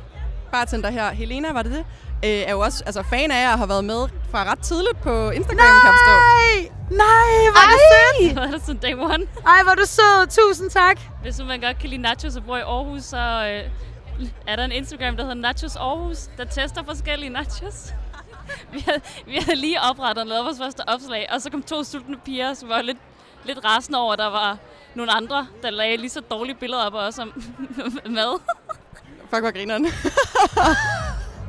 [SPEAKER 3] bartender her, Helena, var det det? Øh, er jo også altså, fan af jer og har været med fra ret tidligt på Instagram, Nej! kan jeg forstå.
[SPEAKER 5] Nej, nej, hvor er det sødt.
[SPEAKER 9] Så er der sådan day one.
[SPEAKER 5] Ej, hvor er du sød. Tusind tak.
[SPEAKER 9] Hvis nu man godt kan lide nachos og bor i Aarhus, så øh, er der en Instagram, der hedder Nachos Aarhus, der tester forskellige nachos. vi, havde, vi havde lige oprettet og lavet vores første opslag, og så kom to sultne piger, som var lidt, lidt rasende over, at der var nogle andre, der lagde lige så dårlige billeder op af os om mad.
[SPEAKER 3] Fuck, hvor grineren.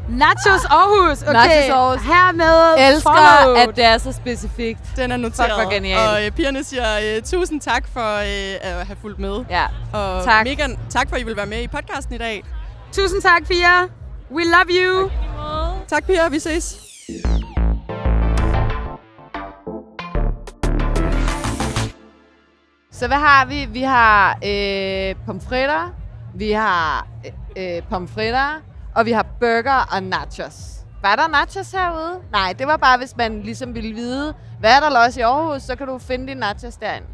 [SPEAKER 5] Nachos Aarhus. Okay,
[SPEAKER 4] Ah. Nachos Aarhus.
[SPEAKER 5] hermed
[SPEAKER 4] Elsker,
[SPEAKER 5] follow.
[SPEAKER 4] at det er så specifikt.
[SPEAKER 3] Den er noteret.
[SPEAKER 4] Fuck, hvor genialt.
[SPEAKER 3] Og øh, pigerne siger øh, tusind tak for øh, at have fulgt med.
[SPEAKER 4] Ja.
[SPEAKER 3] Og
[SPEAKER 4] tak.
[SPEAKER 3] Mega, tak for, at I vil være med i podcasten i dag.
[SPEAKER 5] Tusind tak, Pia. We love you.
[SPEAKER 3] Tak, piger. Vi ses.
[SPEAKER 4] Så hvad har vi? Vi har øh, pomfritter, vi har øh, øh, pomfritter, og vi har burger og nachos. Var der nachos herude? Nej, det var bare, hvis man ligesom ville vide, hvad er der los i Aarhus, så kan du finde din nachos derinde.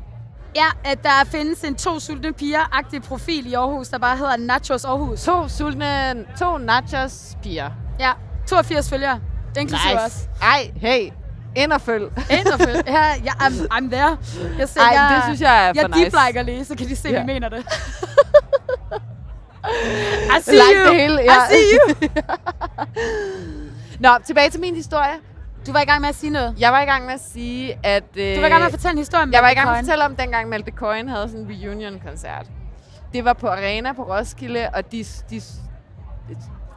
[SPEAKER 5] Ja, at der findes en to sultne piger-agtig profil i Aarhus, der bare hedder Nachos Aarhus.
[SPEAKER 4] To sultne, to nachos piger.
[SPEAKER 5] Ja, 82 følgere. Inklusive nice. os.
[SPEAKER 4] Ej, hey, ind og følg.
[SPEAKER 5] Ind og følg. Ja, ja I'm, I'm there. Jeg ser,
[SPEAKER 4] Ej,
[SPEAKER 5] jeg,
[SPEAKER 4] det synes jeg er
[SPEAKER 5] jeg
[SPEAKER 4] for nice.
[SPEAKER 5] deep-liker lige, så kan de se, at
[SPEAKER 4] Ja.
[SPEAKER 5] vi mener det. I see
[SPEAKER 4] Like
[SPEAKER 5] you.
[SPEAKER 4] det hele,
[SPEAKER 5] I
[SPEAKER 4] ja.
[SPEAKER 5] see you.
[SPEAKER 4] Nå, tilbage til min historie.
[SPEAKER 5] Du var i gang med at sige noget.
[SPEAKER 4] Jeg var i gang med at sige, at... Øh,
[SPEAKER 5] Du var i gang med at fortælle en historie om
[SPEAKER 4] Jeg var i gang med
[SPEAKER 5] Coin.
[SPEAKER 4] at fortælle om, dengang Malte Coyne havde sådan en reunion-koncert. Det var på Arena på Roskilde, og de, de,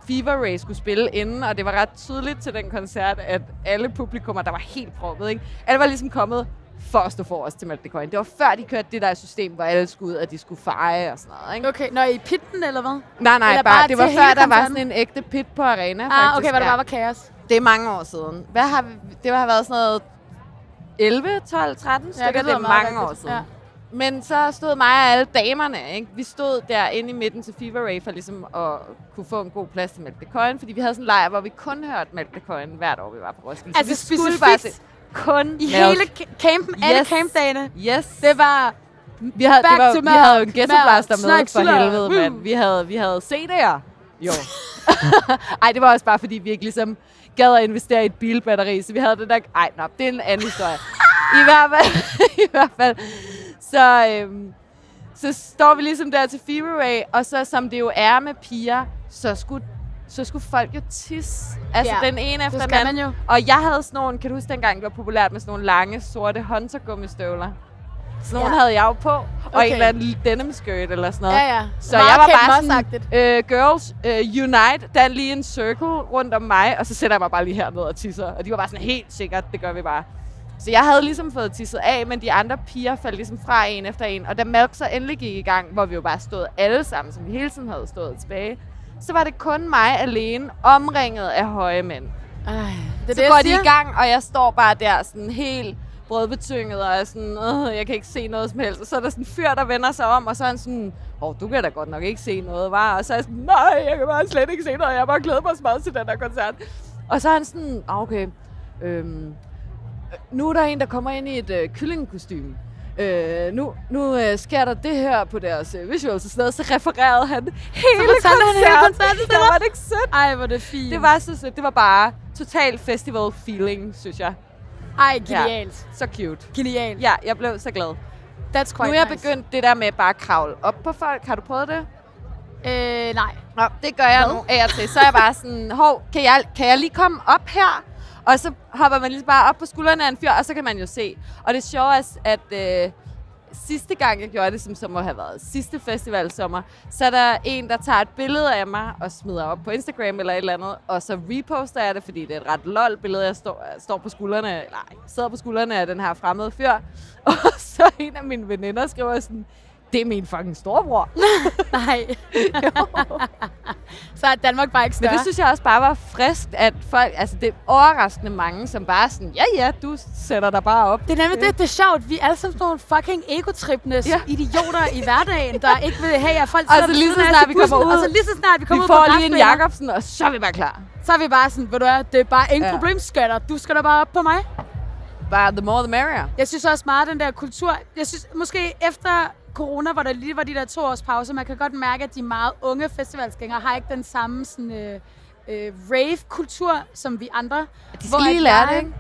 [SPEAKER 4] Fever Ray skulle spille inden, og det var ret tydeligt til den koncert, at alle publikummer, der var helt proppet, ikke? Alle var ligesom kommet for at stå for os til Malte Coyne. Det var før, de kørte det der system, hvor alle skulle ud, og de skulle feje og sådan noget, ikke?
[SPEAKER 5] Okay, når I i pitten, eller hvad?
[SPEAKER 4] Nej, nej,
[SPEAKER 5] Eller
[SPEAKER 4] bare,
[SPEAKER 5] bare
[SPEAKER 4] bare, det var
[SPEAKER 5] til
[SPEAKER 4] før,
[SPEAKER 5] hele
[SPEAKER 4] der var
[SPEAKER 5] koncerten?
[SPEAKER 4] sådan en ægte pit på arena,
[SPEAKER 5] Ah,
[SPEAKER 4] faktisk.
[SPEAKER 5] okay, hvor der
[SPEAKER 4] ja.
[SPEAKER 5] bare var kaos.
[SPEAKER 4] Det er mange år siden. Hvad har vi, det har været sådan noget 11, 12, 13 stykker. det,
[SPEAKER 5] lyder
[SPEAKER 4] er
[SPEAKER 5] meget
[SPEAKER 4] mange
[SPEAKER 5] rigtigt.
[SPEAKER 4] år siden.
[SPEAKER 5] Ja.
[SPEAKER 4] Ja. Men så stod mig og alle damerne, ikke? vi stod der inde i midten til Fever Ray for ligesom at kunne få en god plads til Malte Coyne, fordi vi havde sådan en lejr, hvor vi kun hørte Malte Coyne hvert år, vi var på Roskilde. Så
[SPEAKER 5] Altså
[SPEAKER 4] vi
[SPEAKER 5] specifikt
[SPEAKER 4] se kun
[SPEAKER 5] I
[SPEAKER 4] Malte.
[SPEAKER 5] hele ca- campen, alle
[SPEAKER 4] Yes.
[SPEAKER 5] campdagene.
[SPEAKER 4] Yes.
[SPEAKER 5] Det var
[SPEAKER 4] vi havde,
[SPEAKER 5] back
[SPEAKER 4] det var,
[SPEAKER 5] to
[SPEAKER 4] vi havde jo en
[SPEAKER 5] mørk,
[SPEAKER 4] ghetto
[SPEAKER 5] mørk,
[SPEAKER 4] blaster med
[SPEAKER 5] snak,
[SPEAKER 4] for
[SPEAKER 5] slør.
[SPEAKER 4] helvede,
[SPEAKER 5] Woo.
[SPEAKER 4] mand. Vi havde, vi havde CD'er. Jo. Ej, det var også bare, fordi vi ikke ligesom gad at investere i et bilbatteri, så vi havde det der... Ej, nå, det er en anden historie. I hvert fald... I hvert fald. Så, øhm, så står vi ligesom der til Fever Ray, og så som det jo er med piger, så skulle, så skulle folk jo tisse. Altså
[SPEAKER 5] Ja,
[SPEAKER 4] ja, den ene efter
[SPEAKER 5] skal
[SPEAKER 4] den anden.
[SPEAKER 5] man jo.
[SPEAKER 4] Og jeg havde sådan nogle, kan du huske dengang, det var populært med sådan nogle lange, sorte håndtergummistøvler? Sådan nogle
[SPEAKER 5] Ja.
[SPEAKER 4] ja. havde jeg jo på, og okay.
[SPEAKER 5] Okay.
[SPEAKER 4] en eller anden denim skirt eller sådan noget.
[SPEAKER 5] Ja, ja.
[SPEAKER 4] Så jeg var bare
[SPEAKER 5] sådan...
[SPEAKER 4] sådan, øh, girls, øh, unite, der er lige en circle rundt om mig, og så sætter jeg mig bare lige herned og tisser. Og de var bare sådan, helt sikkert, det gør vi bare. Så jeg havde ligesom fået tisset af, men de andre piger faldt ligesom fra en efter en. Og da Malk så endelig gik i gang, hvor vi jo bare stod alle sammen, som vi hele tiden havde stået tilbage, så var det kun mig alene, omringet af høje mænd.
[SPEAKER 5] Ej, det er
[SPEAKER 4] Så
[SPEAKER 5] det,
[SPEAKER 4] går
[SPEAKER 5] jeg
[SPEAKER 4] de
[SPEAKER 5] siger.
[SPEAKER 4] i gang, og jeg står bare der sådan helt brødbetynget, og er sådan, øh, jeg kan ikke se noget som helst. Og så er der sådan en fyr, der vender sig om, og så er han sådan, åh, du kan da godt nok ikke se noget, var. Og så er jeg sådan, nej, jeg kan bare slet ikke se noget, jeg har bare glædet mig så meget til den der koncert. Og så er han sådan, ah, okay, øhm, nu er der en, der kommer ind i et øh, kyllingekostyme. Øh, nu nu øh, sker der det her på deres øh, visuals og sådan noget, så refererede han hele
[SPEAKER 5] fortalte han hele koncerten til
[SPEAKER 4] Det var det ikke sødt.
[SPEAKER 5] Ej, hvor er det fint.
[SPEAKER 4] Det var så sødt. Det var bare total festival feeling, synes jeg.
[SPEAKER 5] Ej, genialt. Ja.
[SPEAKER 4] Så cute.
[SPEAKER 5] Genialt.
[SPEAKER 4] Ja, jeg blev så glad.
[SPEAKER 5] That's
[SPEAKER 4] nu
[SPEAKER 5] quite
[SPEAKER 4] er jeg
[SPEAKER 5] nice.
[SPEAKER 4] begyndt det der med bare at kravle op på folk. Har du prøvet det?
[SPEAKER 5] Øh, nej.
[SPEAKER 4] Nå, det gør jeg nu af og til. Så er jeg bare sådan, hov, kan jeg, kan jeg lige komme op her? Og så hopper man lige bare op på skuldrene af en fyr, og så kan man jo se. Og det sjove er, at øh, sidste gang, jeg gjorde det, som, som må have været sidste festivalsommer, så er der en, der tager et billede af mig og smider op på Instagram eller et eller andet, og så reposter jeg det, fordi det er et ret lol billede, jeg står, øh, står på skuldrene, eller ej, sidder på skuldrene af den her fremmede fyr. Og så en af mine veninder skriver sådan, det er min fucking storebror.
[SPEAKER 5] Nej. så er Danmark bare ikke
[SPEAKER 4] Men
[SPEAKER 5] større.
[SPEAKER 4] det synes jeg også bare var frisk, at folk, altså det er overraskende mange, som bare er sådan, ja ja, du sætter dig bare op.
[SPEAKER 5] Det er nemlig det, det er sjovt. Vi er alle sammen sådan nogle fucking egotripnes ja.
[SPEAKER 4] Ja.
[SPEAKER 5] idioter i hverdagen, der ikke vil have, at folk
[SPEAKER 4] Og
[SPEAKER 5] sidder
[SPEAKER 4] så
[SPEAKER 5] ved
[SPEAKER 4] lige så
[SPEAKER 5] siden af os
[SPEAKER 4] snart
[SPEAKER 5] i
[SPEAKER 4] vi
[SPEAKER 5] bussen,
[SPEAKER 4] kommer
[SPEAKER 5] Og
[SPEAKER 4] ud,
[SPEAKER 5] så lige så snart vi
[SPEAKER 4] Vi
[SPEAKER 5] kommer ud på
[SPEAKER 4] får lige en
[SPEAKER 5] græsplænen,
[SPEAKER 4] Jacobsen, og så er vi bare klar.
[SPEAKER 5] Så er vi bare sådan, ved du hvad, det er bare ingen ja.
[SPEAKER 4] Ja.
[SPEAKER 5] problem, skatter. Du skal da bare op på mig.
[SPEAKER 4] Bare the more the merrier.
[SPEAKER 5] Jeg synes også meget, den der kultur... Jeg synes måske efter corona, hvor der lige var de der to års pause, man kan godt mærke, at de meget unge festivalsgængere har ikke den samme sådan, øh, øh, rave-kultur, som vi andre.
[SPEAKER 4] De skal
[SPEAKER 5] Hvor
[SPEAKER 4] lige
[SPEAKER 5] at
[SPEAKER 4] lære
[SPEAKER 5] jeg-
[SPEAKER 4] det, ikke?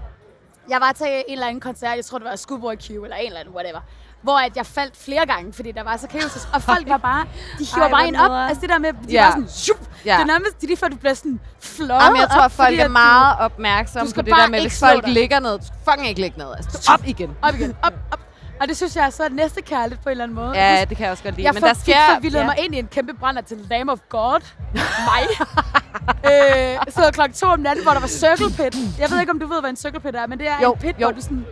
[SPEAKER 5] Jeg var til en eller anden koncert, jeg tror det var Skubber Q eller en eller anden, whatever. Hvor at jeg faldt flere gange, fordi der var så kaos, og folk var bare, de hiver
[SPEAKER 4] Ej,
[SPEAKER 5] bare
[SPEAKER 4] hvor
[SPEAKER 5] en op.
[SPEAKER 4] nederen.
[SPEAKER 5] Altså det der med, de
[SPEAKER 4] Ja.
[SPEAKER 5] var sådan, shup,
[SPEAKER 4] Ja.
[SPEAKER 5] det er nærmest lige før, du bliver sådan flået
[SPEAKER 4] Jamen, jeg tror,
[SPEAKER 5] op,
[SPEAKER 4] at folk
[SPEAKER 5] fordi
[SPEAKER 4] er
[SPEAKER 5] at
[SPEAKER 4] meget opmærksomme
[SPEAKER 5] du
[SPEAKER 4] på
[SPEAKER 5] skal
[SPEAKER 4] det der
[SPEAKER 5] bare
[SPEAKER 4] med,
[SPEAKER 5] ikke
[SPEAKER 4] hvis
[SPEAKER 5] slå
[SPEAKER 4] folk
[SPEAKER 5] dig.
[SPEAKER 4] ligger ned. Du skal fucking ikke ligge ned. Altså, stå op igen.
[SPEAKER 5] Du, op igen, op, op. Og det synes jeg er så næste kærligt på en eller anden måde.
[SPEAKER 4] Ja, det kan jeg også godt lide.
[SPEAKER 5] jeg
[SPEAKER 4] men
[SPEAKER 5] for,
[SPEAKER 4] der
[SPEAKER 5] fik
[SPEAKER 4] sker...
[SPEAKER 5] forvildet ja. mig ind i en kæmpe brænder til Lamb of God. Mig. øh, så klokken to om natten, hvor der var circle pit. Jeg ved ikke, om du ved, hvad en circle pit er, men det er
[SPEAKER 4] Jo,
[SPEAKER 5] en pit,
[SPEAKER 4] jo.
[SPEAKER 5] hvor du sådan...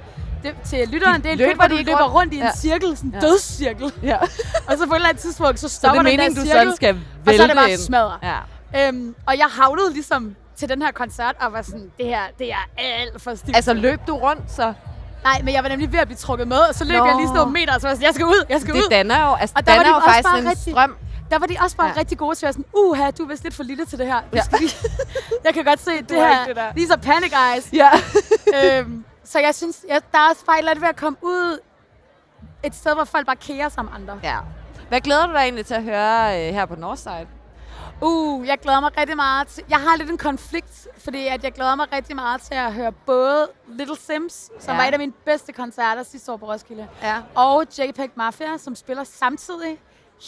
[SPEAKER 5] Det, til lytteren, det er en
[SPEAKER 4] løber
[SPEAKER 5] pit, hvor
[SPEAKER 4] de
[SPEAKER 5] du
[SPEAKER 4] ikke
[SPEAKER 5] løber rundt,
[SPEAKER 4] rundt?
[SPEAKER 5] rundt i en
[SPEAKER 4] Ja.
[SPEAKER 5] cirkel, sådan en
[SPEAKER 4] Ja.
[SPEAKER 5] dødscirkel.
[SPEAKER 4] Ja.
[SPEAKER 5] Og så på et eller andet tidspunkt, så
[SPEAKER 4] Så det
[SPEAKER 5] stopper
[SPEAKER 4] er
[SPEAKER 5] den
[SPEAKER 4] meningen,
[SPEAKER 5] der
[SPEAKER 4] du
[SPEAKER 5] cirkel,
[SPEAKER 4] sådan skal
[SPEAKER 5] og
[SPEAKER 4] vælte
[SPEAKER 5] så er det bare
[SPEAKER 4] ind.
[SPEAKER 5] smadret.
[SPEAKER 4] Ja.
[SPEAKER 5] Øhm, og jeg havlede ligesom til den her koncert, og var sådan, det her, det er alt for stift.
[SPEAKER 4] Altså, løb du rundt, så...
[SPEAKER 5] Nej, men jeg var nemlig ved at blive trukket med, og så løb
[SPEAKER 4] Nå.
[SPEAKER 5] Nå. jeg lige sådan nogle meter, og så var jeg sådan, jeg skal ud, jeg skal
[SPEAKER 4] Det
[SPEAKER 5] ud.
[SPEAKER 4] danner jo, altså,
[SPEAKER 5] Og
[SPEAKER 4] og
[SPEAKER 5] der var
[SPEAKER 4] danner
[SPEAKER 5] de
[SPEAKER 4] jo
[SPEAKER 5] også
[SPEAKER 4] faktisk
[SPEAKER 5] bare
[SPEAKER 4] en
[SPEAKER 5] rigtig-
[SPEAKER 4] strøm.
[SPEAKER 5] Der var de også bare
[SPEAKER 4] Ja.
[SPEAKER 5] ja. rigtig gode til at være sådan, uha, du er vist lidt for lille til det her. Du skal lige... jeg kan godt se, det
[SPEAKER 4] er
[SPEAKER 5] her,
[SPEAKER 4] ikke det der.
[SPEAKER 5] these are panic eyes.
[SPEAKER 4] Ja.
[SPEAKER 5] øhm, så jeg synes, jeg, der er også bare et eller andet ved at komme ud et sted, hvor folk bare kærer sig om andre.
[SPEAKER 4] ja. Hvad glæder du dig egentlig til at høre øh, her på Northside?
[SPEAKER 5] Uh, jeg glæder mig rigtig meget til... Jeg har lidt en konflikt, fordi at jeg glæder mig rigtig meget til at høre både Little Sims, som
[SPEAKER 4] Ja.
[SPEAKER 5] ja. var et af mine bedste koncerter sidste år på Roskilde,
[SPEAKER 4] Ja.
[SPEAKER 5] og JPEG Mafia, som spiller samtidig.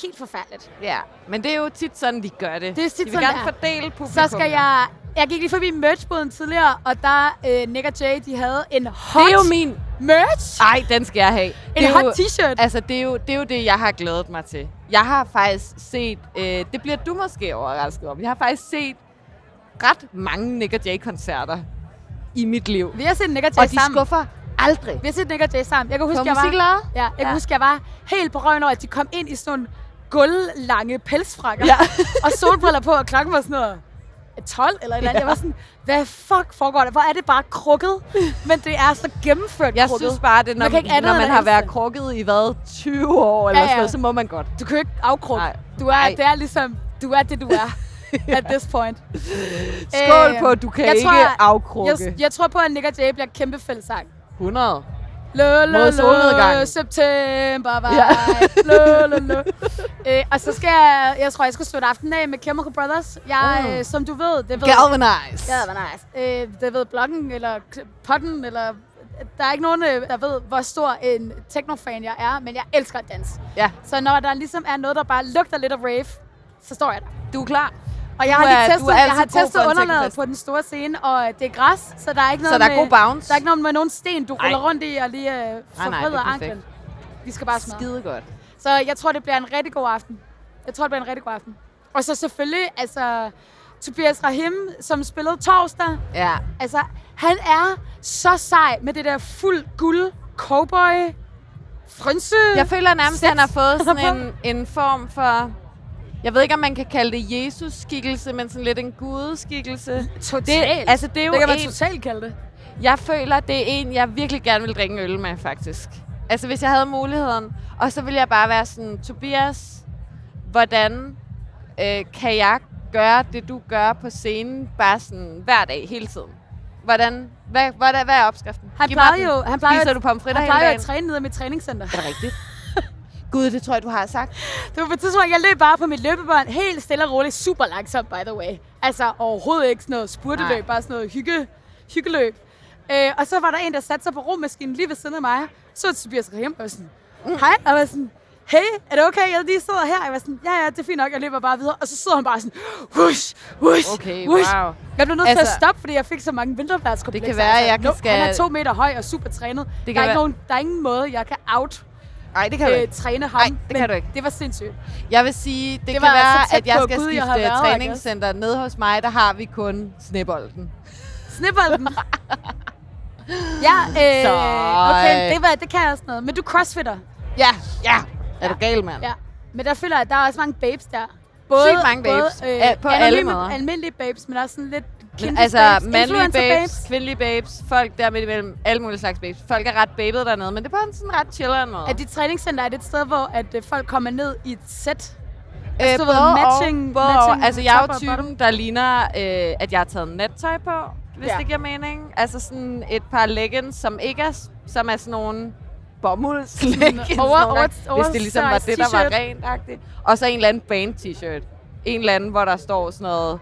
[SPEAKER 5] Helt forfærdeligt.
[SPEAKER 4] Ja, men det er jo tit sådan, de gør det.
[SPEAKER 5] Det er tit
[SPEAKER 4] de vil
[SPEAKER 5] sådan,
[SPEAKER 4] gerne
[SPEAKER 5] det er.
[SPEAKER 4] fordele publikum.
[SPEAKER 5] Så skal jeg... Jeg gik lige forbi merchboden tidligere, og der øh, Nick og Jay, de havde en hot
[SPEAKER 4] Det er jo min...
[SPEAKER 5] merch.
[SPEAKER 4] Ej, den skal jeg have.
[SPEAKER 5] En
[SPEAKER 4] Det er
[SPEAKER 5] hot
[SPEAKER 4] jo-
[SPEAKER 5] t-shirt.
[SPEAKER 4] Altså, det er, jo, det er jo det, jeg har glædet mig til. Jeg har faktisk set... Øh, det bliver du måske overrasket om. Jeg har faktisk set ret mange Nick Jay-koncerter i mit liv.
[SPEAKER 5] Vi har set Nick og Jay
[SPEAKER 4] Og de
[SPEAKER 5] sammen.
[SPEAKER 4] skuffer aldrig.
[SPEAKER 5] Vi har set Nick og Jay sammen. Jeg kan huske,
[SPEAKER 4] På
[SPEAKER 5] jeg var,
[SPEAKER 4] musiklade?
[SPEAKER 5] ja, jeg kan
[SPEAKER 4] Ja.
[SPEAKER 5] huske, jeg var helt på røven over, at de kom ind i sådan nogle guldlange pelsfrakker.
[SPEAKER 4] Ja.
[SPEAKER 5] og solbriller på, og klokken var sådan noget 12 eller et eller andet.
[SPEAKER 4] Ja.
[SPEAKER 5] Jeg var sådan, hvad fuck foregår der? Hvor er det bare krukket? Men det er så gennemført
[SPEAKER 4] Jeg
[SPEAKER 5] krukket.
[SPEAKER 4] synes bare, det, når,
[SPEAKER 5] Man kan ikke
[SPEAKER 4] man,
[SPEAKER 5] andet
[SPEAKER 4] når man
[SPEAKER 5] end
[SPEAKER 4] har været
[SPEAKER 5] elske.
[SPEAKER 4] krukket i hvad, 20 år eller ja, ja.
[SPEAKER 5] Ja,
[SPEAKER 4] sådan noget,
[SPEAKER 5] ja.
[SPEAKER 4] så må man godt.
[SPEAKER 5] Du kan jo ikke afkrukke.
[SPEAKER 4] Nej.
[SPEAKER 5] Du er,
[SPEAKER 4] Nej.
[SPEAKER 5] det er ligesom, du er det, du er. At this point.
[SPEAKER 4] Skål
[SPEAKER 5] Øh,
[SPEAKER 4] på, du kan
[SPEAKER 5] jeg
[SPEAKER 4] ikke
[SPEAKER 5] tror-
[SPEAKER 4] afkrukke.
[SPEAKER 5] Jeg, jeg tror på, at Nick og Jay bliver kæmpe fællesang.
[SPEAKER 4] 100.
[SPEAKER 5] Lå, lå,
[SPEAKER 4] Mod
[SPEAKER 5] lå,
[SPEAKER 4] solnedgangen.
[SPEAKER 5] september var
[SPEAKER 4] Ja.
[SPEAKER 5] ja. lå, lå, lå. Øh, og så skal jeg, jeg tror, jeg skal slutte aftenen af med Chemical Brothers. Jeg,
[SPEAKER 4] Mm.
[SPEAKER 5] øh, som du ved, det ved...
[SPEAKER 4] Galvanize.
[SPEAKER 5] Ja, det var nice. Øh, det ved bloggen, eller k- potten, eller... Der er ikke nogen, øh, der ved, hvor stor en technofan jeg er, men jeg elsker at danse.
[SPEAKER 4] Ja.
[SPEAKER 5] Så når der ligesom er noget, der bare lugter lidt af rave, så står jeg der.
[SPEAKER 4] Du er klar.
[SPEAKER 5] Og jeg
[SPEAKER 4] Du
[SPEAKER 5] har
[SPEAKER 4] er- du
[SPEAKER 5] lige testet,
[SPEAKER 4] er
[SPEAKER 5] jeg
[SPEAKER 4] altid
[SPEAKER 5] har
[SPEAKER 4] god for
[SPEAKER 5] testet
[SPEAKER 4] en
[SPEAKER 5] underlaget
[SPEAKER 4] technofest.
[SPEAKER 5] på den store scene, og øh, det er græs, så der er ikke noget
[SPEAKER 4] Så der er
[SPEAKER 5] med,
[SPEAKER 4] god bounce.
[SPEAKER 5] Der er ikke noget med nogen sten, du
[SPEAKER 4] Nej.
[SPEAKER 5] ruller rundt i og lige øh,
[SPEAKER 4] nej, det er
[SPEAKER 5] forbreder
[SPEAKER 4] perfekt.
[SPEAKER 5] anklen. Vi skal bare smadre.
[SPEAKER 4] Skide godt.
[SPEAKER 5] Så jeg tror, det bliver en rigtig god aften. Jeg tror, det bliver en rigtig god aften. Og så selvfølgelig, altså, Tobias Rahim, som spillede torsdag.
[SPEAKER 4] Ja.
[SPEAKER 5] Altså, han er så sej med det der fuld guld cowboy frynse.
[SPEAKER 4] Jeg føler nærmest, at han har fået sådan
[SPEAKER 5] Han
[SPEAKER 4] en, en form for... Jeg ved ikke, om man kan kalde det Jesus-skikkelse, men sådan lidt en gudeskikkelse.
[SPEAKER 5] totalt.
[SPEAKER 4] Det, altså, det er jo
[SPEAKER 5] det kan man
[SPEAKER 4] en,
[SPEAKER 5] totalt kalde det.
[SPEAKER 4] jeg føler, det er en, jeg virkelig gerne vil drikke en øl med, faktisk. Altså, hvis jeg havde muligheden. Og så ville jeg bare være sådan, Tobias, hvordan øh, kan jeg gøre det, du gør på scenen, bare sådan hver dag, hele tiden? Hvordan, hvad, hvad, hvad er opskriften?
[SPEAKER 5] Han
[SPEAKER 4] Giv mig
[SPEAKER 5] plejede
[SPEAKER 4] den.
[SPEAKER 5] jo, han plejede,
[SPEAKER 4] Spiser du pomfritter
[SPEAKER 5] han
[SPEAKER 4] hele
[SPEAKER 5] plejede jo
[SPEAKER 4] dagen?
[SPEAKER 5] at træne nede i mit træningscenter.
[SPEAKER 4] Er det rigtigt? Gud, det tror jeg, du har sagt.
[SPEAKER 5] Det var på et tidspunkt, jeg løb bare på mit løbebånd, helt stille og roligt, super langsomt, by the way. Altså overhovedet ikke sådan noget
[SPEAKER 4] Nej.
[SPEAKER 5] spurteløb, bare sådan noget hygge, hyggeløb. Øh, og så var der en, der satte sig på romaskinen lige ved siden af mig. Så var det Tobias Rahim, og jeg var sådan, hej, og jeg var sådan, hey, er det okay, jeg lige sidder her? Jeg var sådan, ja, ja, det er fint nok, jeg løber bare videre. Og så sidder han bare sådan, whoosh, whoosh,
[SPEAKER 4] Okay,
[SPEAKER 5] whoosh.
[SPEAKER 4] wow.
[SPEAKER 5] Jeg blev nødt altså, til
[SPEAKER 4] Altså-
[SPEAKER 5] at stoppe, fordi jeg fik så mange vinterværtskomplekser.
[SPEAKER 4] Det kan være, jeg kan skal-
[SPEAKER 5] Han er to meter høj og super trænet.
[SPEAKER 4] kan
[SPEAKER 5] der, er
[SPEAKER 4] være-
[SPEAKER 5] ikke nogen, der er ingen måde, jeg kan out
[SPEAKER 4] Nej, det kan du
[SPEAKER 5] øh,
[SPEAKER 4] ikke.
[SPEAKER 5] træne ham.
[SPEAKER 4] Nej, det
[SPEAKER 5] men
[SPEAKER 4] kan du ikke.
[SPEAKER 5] Det var sindssygt.
[SPEAKER 4] Jeg vil sige, det, kan
[SPEAKER 5] var
[SPEAKER 4] være,
[SPEAKER 5] så tæt
[SPEAKER 4] at jeg
[SPEAKER 5] på
[SPEAKER 4] skal
[SPEAKER 5] Gud, jeg har
[SPEAKER 4] skifte
[SPEAKER 5] været, I guess.
[SPEAKER 4] træningscenter. Nede hos mig, der har vi kun snebolden.
[SPEAKER 5] Snebolden. ja, øh,
[SPEAKER 4] Så, øh.
[SPEAKER 5] okay, det, var, det kan jeg også noget. Men du crossfitter.
[SPEAKER 4] Ja, ja. Er du gal, mand?
[SPEAKER 5] Ja. Men der føler jeg, at der er også mange babes der.
[SPEAKER 4] Sygt mange babes. Ja, på alle
[SPEAKER 5] anonyme-
[SPEAKER 4] måder.
[SPEAKER 5] Almindelige babes, men også sådan lidt
[SPEAKER 4] Men
[SPEAKER 5] kindis
[SPEAKER 4] altså,
[SPEAKER 5] babes,
[SPEAKER 4] mandlige
[SPEAKER 5] influencer
[SPEAKER 4] babes, babes, kvindelige babes, folk der midt imellem, alle mulige slags babes. Folk er ret babede dernede, men det er på en sådan ret chilleren måde.
[SPEAKER 5] Er dit træningscenter er det et sted, hvor at, øh, folk kommer ned i et sæt?
[SPEAKER 4] Øh,
[SPEAKER 5] Altså, du ved, matching-
[SPEAKER 4] og, både
[SPEAKER 5] matching
[SPEAKER 4] og. Altså, jeg er
[SPEAKER 5] top
[SPEAKER 4] jo
[SPEAKER 5] og
[SPEAKER 4] typen,
[SPEAKER 5] bottom.
[SPEAKER 4] der ligner, øh, at jeg har taget nattøj på, hvis
[SPEAKER 5] Ja.
[SPEAKER 4] det giver mening. Altså sådan et par leggings, som ikke er, s- som er sådan nogle bomuldsleggings,
[SPEAKER 5] Over-
[SPEAKER 4] nogle gange,
[SPEAKER 5] over-
[SPEAKER 4] hvis det ligesom var det, der var
[SPEAKER 5] oversized
[SPEAKER 4] rent Og så en eller anden band t-shirt. En eller anden, hvor der står sådan noget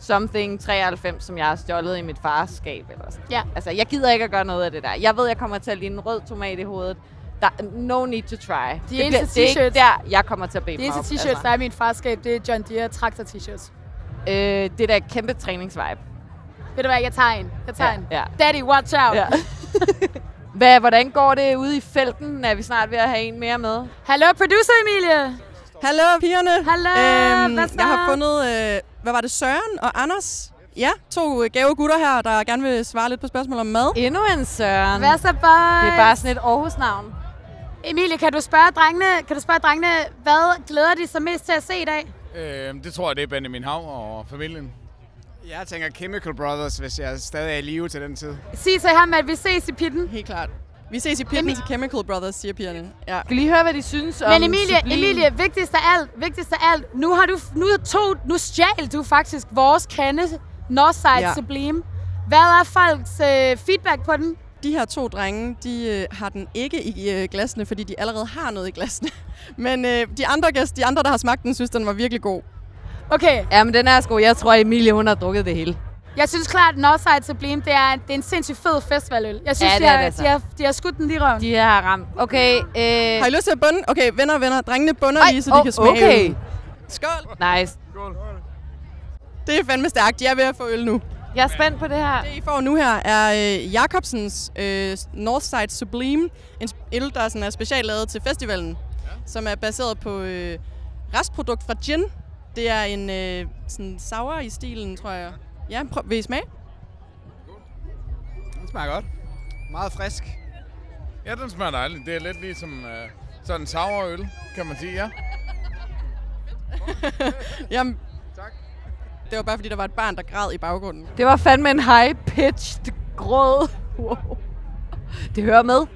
[SPEAKER 4] something 93, som jeg har stjålet i mit fars skab. Eller sådan.
[SPEAKER 5] Ja.
[SPEAKER 4] Altså, jeg gider ikke at gøre noget af det der. Jeg ved, jeg kommer til at ligne en rød tomat i hovedet. Der, no need to try. De det,
[SPEAKER 5] eneste
[SPEAKER 4] det er ikke
[SPEAKER 5] t-shirts-
[SPEAKER 4] der, jeg kommer til at bede
[SPEAKER 5] De
[SPEAKER 4] mig
[SPEAKER 5] eneste
[SPEAKER 4] op,
[SPEAKER 5] t-shirts,
[SPEAKER 4] altså.
[SPEAKER 5] der er i min farskab, det er John Deere traktor t-shirts.
[SPEAKER 4] Øh, det er da et kæmpe træningsvibe.
[SPEAKER 5] Ved du hvad, jeg tager en. Jeg tager
[SPEAKER 4] Ja,
[SPEAKER 5] en.
[SPEAKER 4] ja.
[SPEAKER 5] Daddy, watch out.
[SPEAKER 4] Ja. Hvad, hvordan går det ude i felten? Er vi snart ved at have en mere med?
[SPEAKER 5] Hallo, producer Emilie.
[SPEAKER 6] Hallo pigerne.
[SPEAKER 5] Hallo,
[SPEAKER 4] Øhm,
[SPEAKER 5] hvad
[SPEAKER 3] Øhm,
[SPEAKER 5] så?
[SPEAKER 6] jeg har fundet, øh, hvad var det, Søren og Anders? Ja, to øh, gave gutter her, der gerne vil svare lidt på spørgsmål om mad.
[SPEAKER 4] Endnu en Søren.
[SPEAKER 5] Hvad så, boys?
[SPEAKER 4] Det er bare sådan et Aarhus-navn.
[SPEAKER 5] Emilie, kan du spørge drengene, kan du spørge drengene hvad glæder de sig mest til at se i dag?
[SPEAKER 11] Øh, det tror jeg, det er Benjamin Hav og familien. Jeg tænker Chemical Brothers, hvis jeg stadig er i live til den tid.
[SPEAKER 5] Sig til ham, at vi ses i pitten.
[SPEAKER 6] Helt klart.
[SPEAKER 3] Vi ses i pitten til Chemical Brothers, siger pigerne. Ja.
[SPEAKER 4] Skal lige høre, hvad de synes om
[SPEAKER 5] Men Emilie,
[SPEAKER 4] Sublime?
[SPEAKER 5] Emilie, vigtigst af alt, vigtigst af alt, nu har du, nu er to, nu stjal du faktisk vores kande, Northside
[SPEAKER 3] Ja.
[SPEAKER 5] ja. Sublime. Hvad er folks øh, feedback på den?
[SPEAKER 3] De her to drenge, de øh, har den ikke i øh, glasene, fordi de allerede har noget i glasene. Men øh, de andre gæster, de andre, der har smagt den, synes, den var virkelig god.
[SPEAKER 5] Okay,
[SPEAKER 4] Ja, men den er sgu. Jeg tror, Emilie, hun har drukket det hele.
[SPEAKER 5] jeg synes klart, at Northside Sublime, det er, det er en sindssygt fed festivaløl. Jeg synes,
[SPEAKER 4] Ja,
[SPEAKER 5] ja,
[SPEAKER 4] det
[SPEAKER 5] de,
[SPEAKER 4] er
[SPEAKER 5] har,
[SPEAKER 4] det altså.
[SPEAKER 5] de, har, de har skudt den lige i røven.
[SPEAKER 4] De har ramt. Okay, øh...
[SPEAKER 3] Har I lyst til at bunde? Okay, venner, venner. Drengene bunder
[SPEAKER 4] Ej,
[SPEAKER 3] lige, så de
[SPEAKER 4] åh,
[SPEAKER 3] kan smage
[SPEAKER 4] okay.
[SPEAKER 3] øllen. Skål!
[SPEAKER 4] Nice.
[SPEAKER 3] Det er fandme stærkt. Jeg er ved at få øl nu.
[SPEAKER 4] Jeg er spændt på det her.
[SPEAKER 3] Det, I får nu her, er øh, Jacobsens øh, Northside Sublime. En sp- øl, der sådan er specielt lavet til festivalen. Ja. Som er baseret på øh, restprodukt fra gin. Det er en øh, sådan sour i stilen, tror jeg. Ja, prøv, vil I smage?
[SPEAKER 11] Den smager godt.
[SPEAKER 12] Meget frisk.
[SPEAKER 11] Ja, den smager dejligt. Det er lidt ligesom øh, sådan en sour øl, kan man sige, ja.
[SPEAKER 3] Jamen, tak. Det var bare, fordi der var et barn, der græd i baggrunden.
[SPEAKER 4] Det var fandme en high-pitched grød. Wow. Det hører med.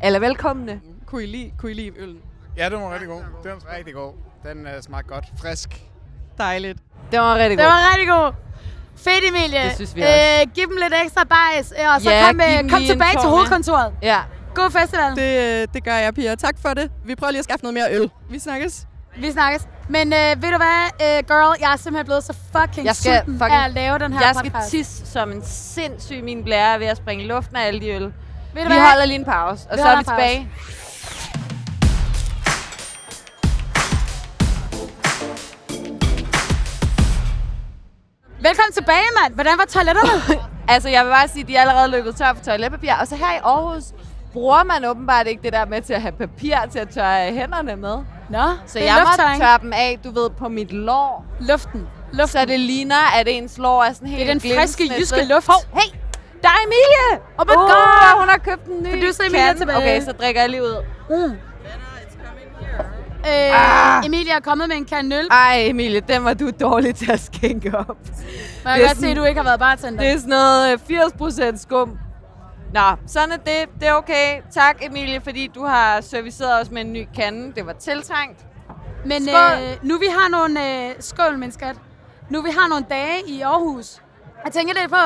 [SPEAKER 4] Alle velkomne.
[SPEAKER 3] Kunne I lide, kunne I lide øllen?
[SPEAKER 11] Ja, den var rigtig god.
[SPEAKER 12] Den er rigtig god. Den uh, smager godt. Frisk.
[SPEAKER 3] Dejligt.
[SPEAKER 4] Det var rigtig
[SPEAKER 5] Det
[SPEAKER 4] godt.
[SPEAKER 5] var rigtig god. Fedt, Emilie.
[SPEAKER 4] Det synes vi
[SPEAKER 5] øh, giv dem lidt ekstra bajs, øh, og så
[SPEAKER 4] Ja,
[SPEAKER 5] kom,
[SPEAKER 4] giv
[SPEAKER 5] øh,
[SPEAKER 4] dem
[SPEAKER 5] kom
[SPEAKER 4] lige en
[SPEAKER 5] tilbage til
[SPEAKER 4] tår med.
[SPEAKER 5] hovedkontoret.
[SPEAKER 4] Ja.
[SPEAKER 5] God festival.
[SPEAKER 3] Det, øh, det gør jeg, piger. Tak for det. Vi prøver lige at skaffe noget mere øl. Vi snakkes.
[SPEAKER 5] Vi snakkes. Men øh, ved du hvad, øh, girl, jeg er simpelthen blevet så fucking
[SPEAKER 4] Jeg skal
[SPEAKER 5] sulten
[SPEAKER 4] fucking-
[SPEAKER 5] af at lave den her
[SPEAKER 4] Jeg skal
[SPEAKER 5] podcast.
[SPEAKER 4] tisse som en sindssyg min blære er ved at springe luften af alle de øl.
[SPEAKER 5] Ved
[SPEAKER 4] Vi
[SPEAKER 5] du hvad?
[SPEAKER 4] holder lige en pause, og
[SPEAKER 5] Vi
[SPEAKER 4] så er
[SPEAKER 5] holder
[SPEAKER 4] vi
[SPEAKER 5] en pause.
[SPEAKER 4] tilbage.
[SPEAKER 5] Velkommen tilbage, mand. Hvordan var toiletterne?
[SPEAKER 4] Altså, jeg vil bare sige, at de er allerede løbet tør for toiletpapir. Og så her i Aarhus bruger man åbenbart ikke det der med til at have papir til at tørre hænderne med.
[SPEAKER 5] Nå,
[SPEAKER 4] Så
[SPEAKER 5] det er
[SPEAKER 4] jeg måtte
[SPEAKER 5] lufttørring.
[SPEAKER 4] tørre dem af, du ved, på mit lår.
[SPEAKER 5] Luften.
[SPEAKER 4] Luften. Så det ligner, at ens lår er sådan helt
[SPEAKER 5] den friske
[SPEAKER 4] glinsende.
[SPEAKER 5] jyske
[SPEAKER 4] Så-
[SPEAKER 5] luft.
[SPEAKER 4] Hov, hey, der er Emilie!
[SPEAKER 5] Oh my god!
[SPEAKER 4] hun har købt en ny
[SPEAKER 5] Producer Emilie er
[SPEAKER 4] kande.
[SPEAKER 5] tilbage.
[SPEAKER 4] Okay, så drikker jeg lige ud.
[SPEAKER 5] Mm. Øh, ah. Emilie er kommet med en kande øl.
[SPEAKER 4] Ej, Emilie, den var du dårlig til at skænke op.
[SPEAKER 5] Må jeg
[SPEAKER 4] det er
[SPEAKER 5] godt se,
[SPEAKER 4] sådan-
[SPEAKER 5] at du ikke har været bartender.
[SPEAKER 4] Det er sådan noget øh, 80% skum. Nå, sådan er det. Det er okay. Tak, Emilie, fordi du har serviceret os med en ny kande. Det var tiltrængt.
[SPEAKER 5] Men
[SPEAKER 4] Skål.
[SPEAKER 5] øh, nu vi har nogle... Øh, skål, min skat. Nu vi har nogle dage i Aarhus. Jeg tænker lidt på,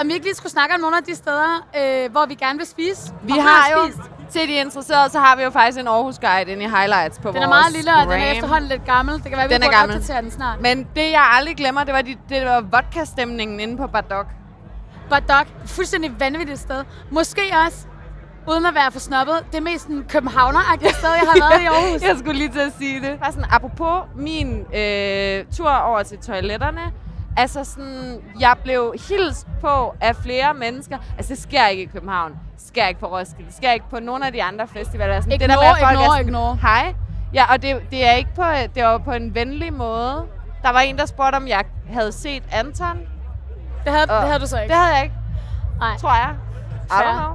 [SPEAKER 5] om vi ikke lige skulle snakke om nogle af de steder, øh, hvor vi gerne vil spise.
[SPEAKER 4] Vi
[SPEAKER 5] og
[SPEAKER 4] har jo,
[SPEAKER 5] spist.
[SPEAKER 4] til de interesserede, så har vi jo faktisk en Aarhus Guide inde i Highlights på
[SPEAKER 5] Den
[SPEAKER 4] vores
[SPEAKER 5] er meget lille, og den er
[SPEAKER 4] gram.
[SPEAKER 5] efterhånden lidt gammel. Det kan være, vi
[SPEAKER 4] Den er
[SPEAKER 5] burde
[SPEAKER 4] gammel.
[SPEAKER 5] opdatere den snart.
[SPEAKER 4] Men det, jeg aldrig glemmer, det var, de, det var vodka-stemningen inde på Bardock.
[SPEAKER 5] Bardock, fuldstændig vanvittigt sted. Måske også, uden at være for snobbet, det mest sådan københavner-agtige sted, jeg har været i Aarhus.
[SPEAKER 4] jeg skulle lige til at sige det. Bare sådan, apropos min øh, tur over til toiletterne, altså sådan, jeg blev hilst på af flere mennesker. Altså, det sker ikke i København. Det sker ikke på Roskilde. Det sker ikke på nogen af de andre festivaler. Sådan, det der med,
[SPEAKER 5] Ignore,
[SPEAKER 4] at folk
[SPEAKER 5] ignore,
[SPEAKER 4] er sådan,
[SPEAKER 5] ignore.
[SPEAKER 4] Hej. Ja, og det, det er ikke på, det var på en venlig måde. Der var en, der spurgte, om jeg havde set Anton.
[SPEAKER 5] Det havde,
[SPEAKER 4] Og
[SPEAKER 5] det havde du så ikke.
[SPEAKER 4] Det havde jeg ikke,
[SPEAKER 5] Nej.
[SPEAKER 4] tror jeg. I
[SPEAKER 5] Fair.
[SPEAKER 4] don't know.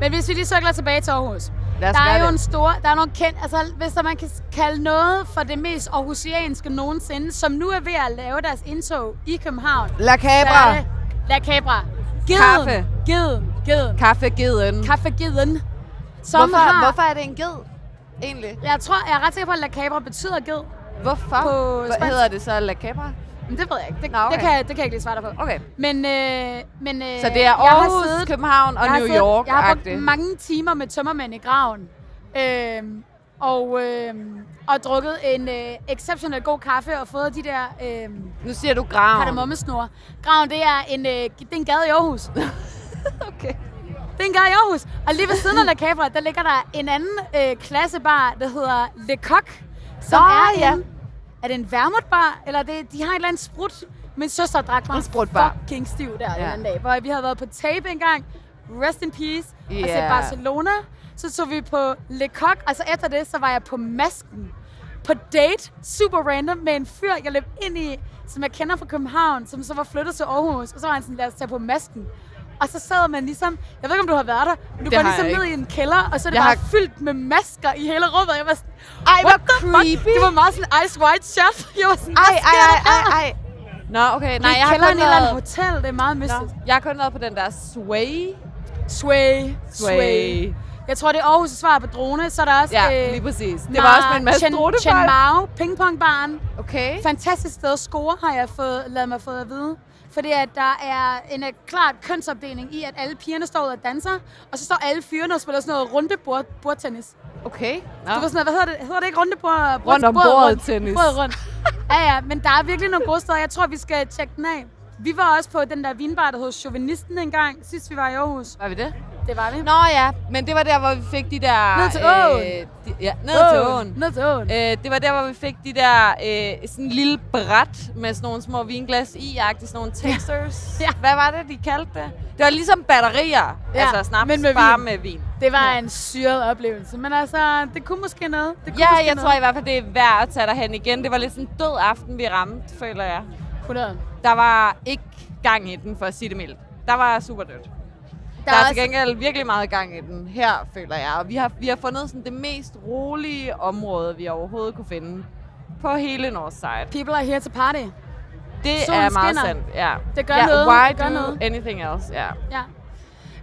[SPEAKER 5] Men hvis vi lige cykler tilbage til Aarhus.
[SPEAKER 4] Lad os
[SPEAKER 5] Der er
[SPEAKER 4] gøre
[SPEAKER 5] jo
[SPEAKER 4] det.
[SPEAKER 5] en stor, der er nogle kendt, altså hvis der man kan kalde noget for det mest aarhusianske nogensinde, som nu er ved at lave deres indtog i København.
[SPEAKER 4] La Cabra.
[SPEAKER 5] Der er det La Cabra. Geden.
[SPEAKER 4] Kaffe.
[SPEAKER 5] Geden. Geden.
[SPEAKER 4] Kaffegeden.
[SPEAKER 5] Kaffegeden. Som
[SPEAKER 4] Hvorfor,
[SPEAKER 5] har,
[SPEAKER 4] hvorfor er det en ged, egentlig?
[SPEAKER 5] Jeg tror, jeg er ret sikker på, at La Cabra betyder ged.
[SPEAKER 4] Hvorfor?
[SPEAKER 5] På
[SPEAKER 4] Hvad
[SPEAKER 5] spansk.
[SPEAKER 4] hedder det så? La Cabra?
[SPEAKER 5] Men det ved jeg ikke. Det,
[SPEAKER 4] Nå, okay.
[SPEAKER 5] det, kan, det kan jeg ikke lige svare dig på.
[SPEAKER 4] Okay.
[SPEAKER 5] Men, øh, men øh,
[SPEAKER 4] Så det er
[SPEAKER 5] jeg har
[SPEAKER 4] Aarhus,
[SPEAKER 5] siddet-
[SPEAKER 4] København og
[SPEAKER 5] jeg har
[SPEAKER 4] New
[SPEAKER 5] siddet- Jeg har
[SPEAKER 4] York-agtigt.
[SPEAKER 5] brugt mange timer med tømmermænd i graven. Øhm, og, øhm, og drukket en øh, exceptionelt god kaffe og fået de der øhm,
[SPEAKER 4] Nu siger du graven.
[SPEAKER 5] kardemommesnore. Graven, det er, en, øh, det er en gade i Aarhus.
[SPEAKER 4] Okay.
[SPEAKER 5] Det er en gade i Aarhus. Og lige ved siden af La Cabra, der ligger der en anden øh, klassebar, der hedder Le Coq. Som
[SPEAKER 4] Nå,
[SPEAKER 5] er
[SPEAKER 4] ja.
[SPEAKER 5] en... Er det en vermutbar? Eller det, de har et eller andet sprut? Min søster drak mig
[SPEAKER 4] En sprutbar.
[SPEAKER 5] fucking stiv der ja.
[SPEAKER 4] Ja.
[SPEAKER 5] den anden dag. Hvor vi havde været på tape engang. Rest in peace. Yeah. Og
[SPEAKER 4] Ja.
[SPEAKER 5] set Barcelona. Så tog vi på Le Coq. Og så efter det, så var jeg på Masken. På date. Super random. Med en fyr, jeg løb ind i som jeg kender fra København, som så var flyttet til Aarhus, og så var han sådan, lad os tage på masken. Og så sad man ligesom, jeg ved ikke, om du har været der, men du
[SPEAKER 4] Det
[SPEAKER 5] går
[SPEAKER 4] har jeg
[SPEAKER 5] ligesom ned i
[SPEAKER 4] ikke.
[SPEAKER 5] en kælder, og så er
[SPEAKER 4] Jeg
[SPEAKER 5] det jeg bare
[SPEAKER 4] har-
[SPEAKER 5] har... fyldt med masker i hele rummet. Jeg var sådan,
[SPEAKER 4] Ej,
[SPEAKER 5] what
[SPEAKER 4] hvor
[SPEAKER 5] the
[SPEAKER 4] creepy.
[SPEAKER 5] fuck? Det var meget sådan ice white shot. Jeg var sådan,
[SPEAKER 4] Ej,
[SPEAKER 5] "Hvad
[SPEAKER 4] ej, ej,
[SPEAKER 5] sker der
[SPEAKER 4] ej,
[SPEAKER 5] her?"
[SPEAKER 4] ej. Nå, okay.
[SPEAKER 5] Det
[SPEAKER 4] Nej,
[SPEAKER 5] er i
[SPEAKER 4] jeg har
[SPEAKER 5] kælderen
[SPEAKER 4] kun
[SPEAKER 5] i et eller andet
[SPEAKER 4] været...
[SPEAKER 5] hotel, det er meget mystisk.
[SPEAKER 4] Nå, jeg har kun været på den der Sway.
[SPEAKER 5] Sway.
[SPEAKER 4] Sway.
[SPEAKER 5] Jeg tror, det er Aarhus' svar på drone. Så er der også... øh,
[SPEAKER 4] Ja, lige præcis. Det var også med en masse
[SPEAKER 5] Chen,
[SPEAKER 4] dronefejl.
[SPEAKER 5] Chen Mao, pingpongbaren.
[SPEAKER 4] Okay.
[SPEAKER 5] Fantastisk sted at score, har jeg fået, lavet mig fået at vide. Fordi at der er en øh, klart kønsopdeling i, at alle pigerne står ud og danser, og så står alle fyrene og spiller sådan noget rundebord bordtennis.
[SPEAKER 4] Okay.
[SPEAKER 5] No. Du var sådan noget, hvad hedder det? Hedder det ikke rundebord?
[SPEAKER 4] Rundt om
[SPEAKER 5] bordet
[SPEAKER 4] bordet
[SPEAKER 5] rundt?
[SPEAKER 4] tennis.
[SPEAKER 5] Bordet rundt. Ja, ja, men der er virkelig nogle gode steder. Jeg tror, vi skal tjekke den af. Vi var også på den der vinbar, der hed Chauvinisten engang, sidst vi var i Aarhus.
[SPEAKER 4] Var vi det?
[SPEAKER 5] Det var vi.
[SPEAKER 4] Nå ja, men det var der, hvor vi fik de der...
[SPEAKER 5] Ned til åen.
[SPEAKER 4] Øh, de, ja, ned
[SPEAKER 5] Åen.
[SPEAKER 4] til åen.
[SPEAKER 5] Ned til åen.
[SPEAKER 4] Øh, det var der, hvor vi fik de der... Øh, sådan en lille bræt med sådan nogle små vinglas i, agtigt sådan nogle textures. Ja. Hvad var det, de kaldte det? Det var ligesom batterier. Ja. Altså snaps, men med bare vin. med vin.
[SPEAKER 5] Det var en syret oplevelse, men altså, det kunne måske noget. Det kunne
[SPEAKER 4] Ja,
[SPEAKER 5] måske
[SPEAKER 4] jeg
[SPEAKER 5] noget.
[SPEAKER 4] tror i hvert fald, det er værd at tage dig hen igen. Det var lidt sådan en død aften, vi ramte, føler jeg.
[SPEAKER 5] 100.
[SPEAKER 4] Der var ikke gang i den, for at sige det mildt. Der var super dødt. Der,
[SPEAKER 5] Der
[SPEAKER 4] der
[SPEAKER 5] er
[SPEAKER 4] er til
[SPEAKER 5] også-
[SPEAKER 4] gengæld virkelig meget gang i den her, føler jeg. Og vi har, vi har fundet sådan det mest rolige område, vi overhovedet kunne finde på hele Northside.
[SPEAKER 5] People are here to party.
[SPEAKER 4] Det
[SPEAKER 5] Solen
[SPEAKER 4] er meget
[SPEAKER 5] skinner.
[SPEAKER 4] sandt, ja.
[SPEAKER 5] Det gør
[SPEAKER 4] ja,
[SPEAKER 5] noget,
[SPEAKER 4] Why
[SPEAKER 5] det gør
[SPEAKER 4] do
[SPEAKER 5] noget.
[SPEAKER 4] anything else, ja.
[SPEAKER 5] Ja.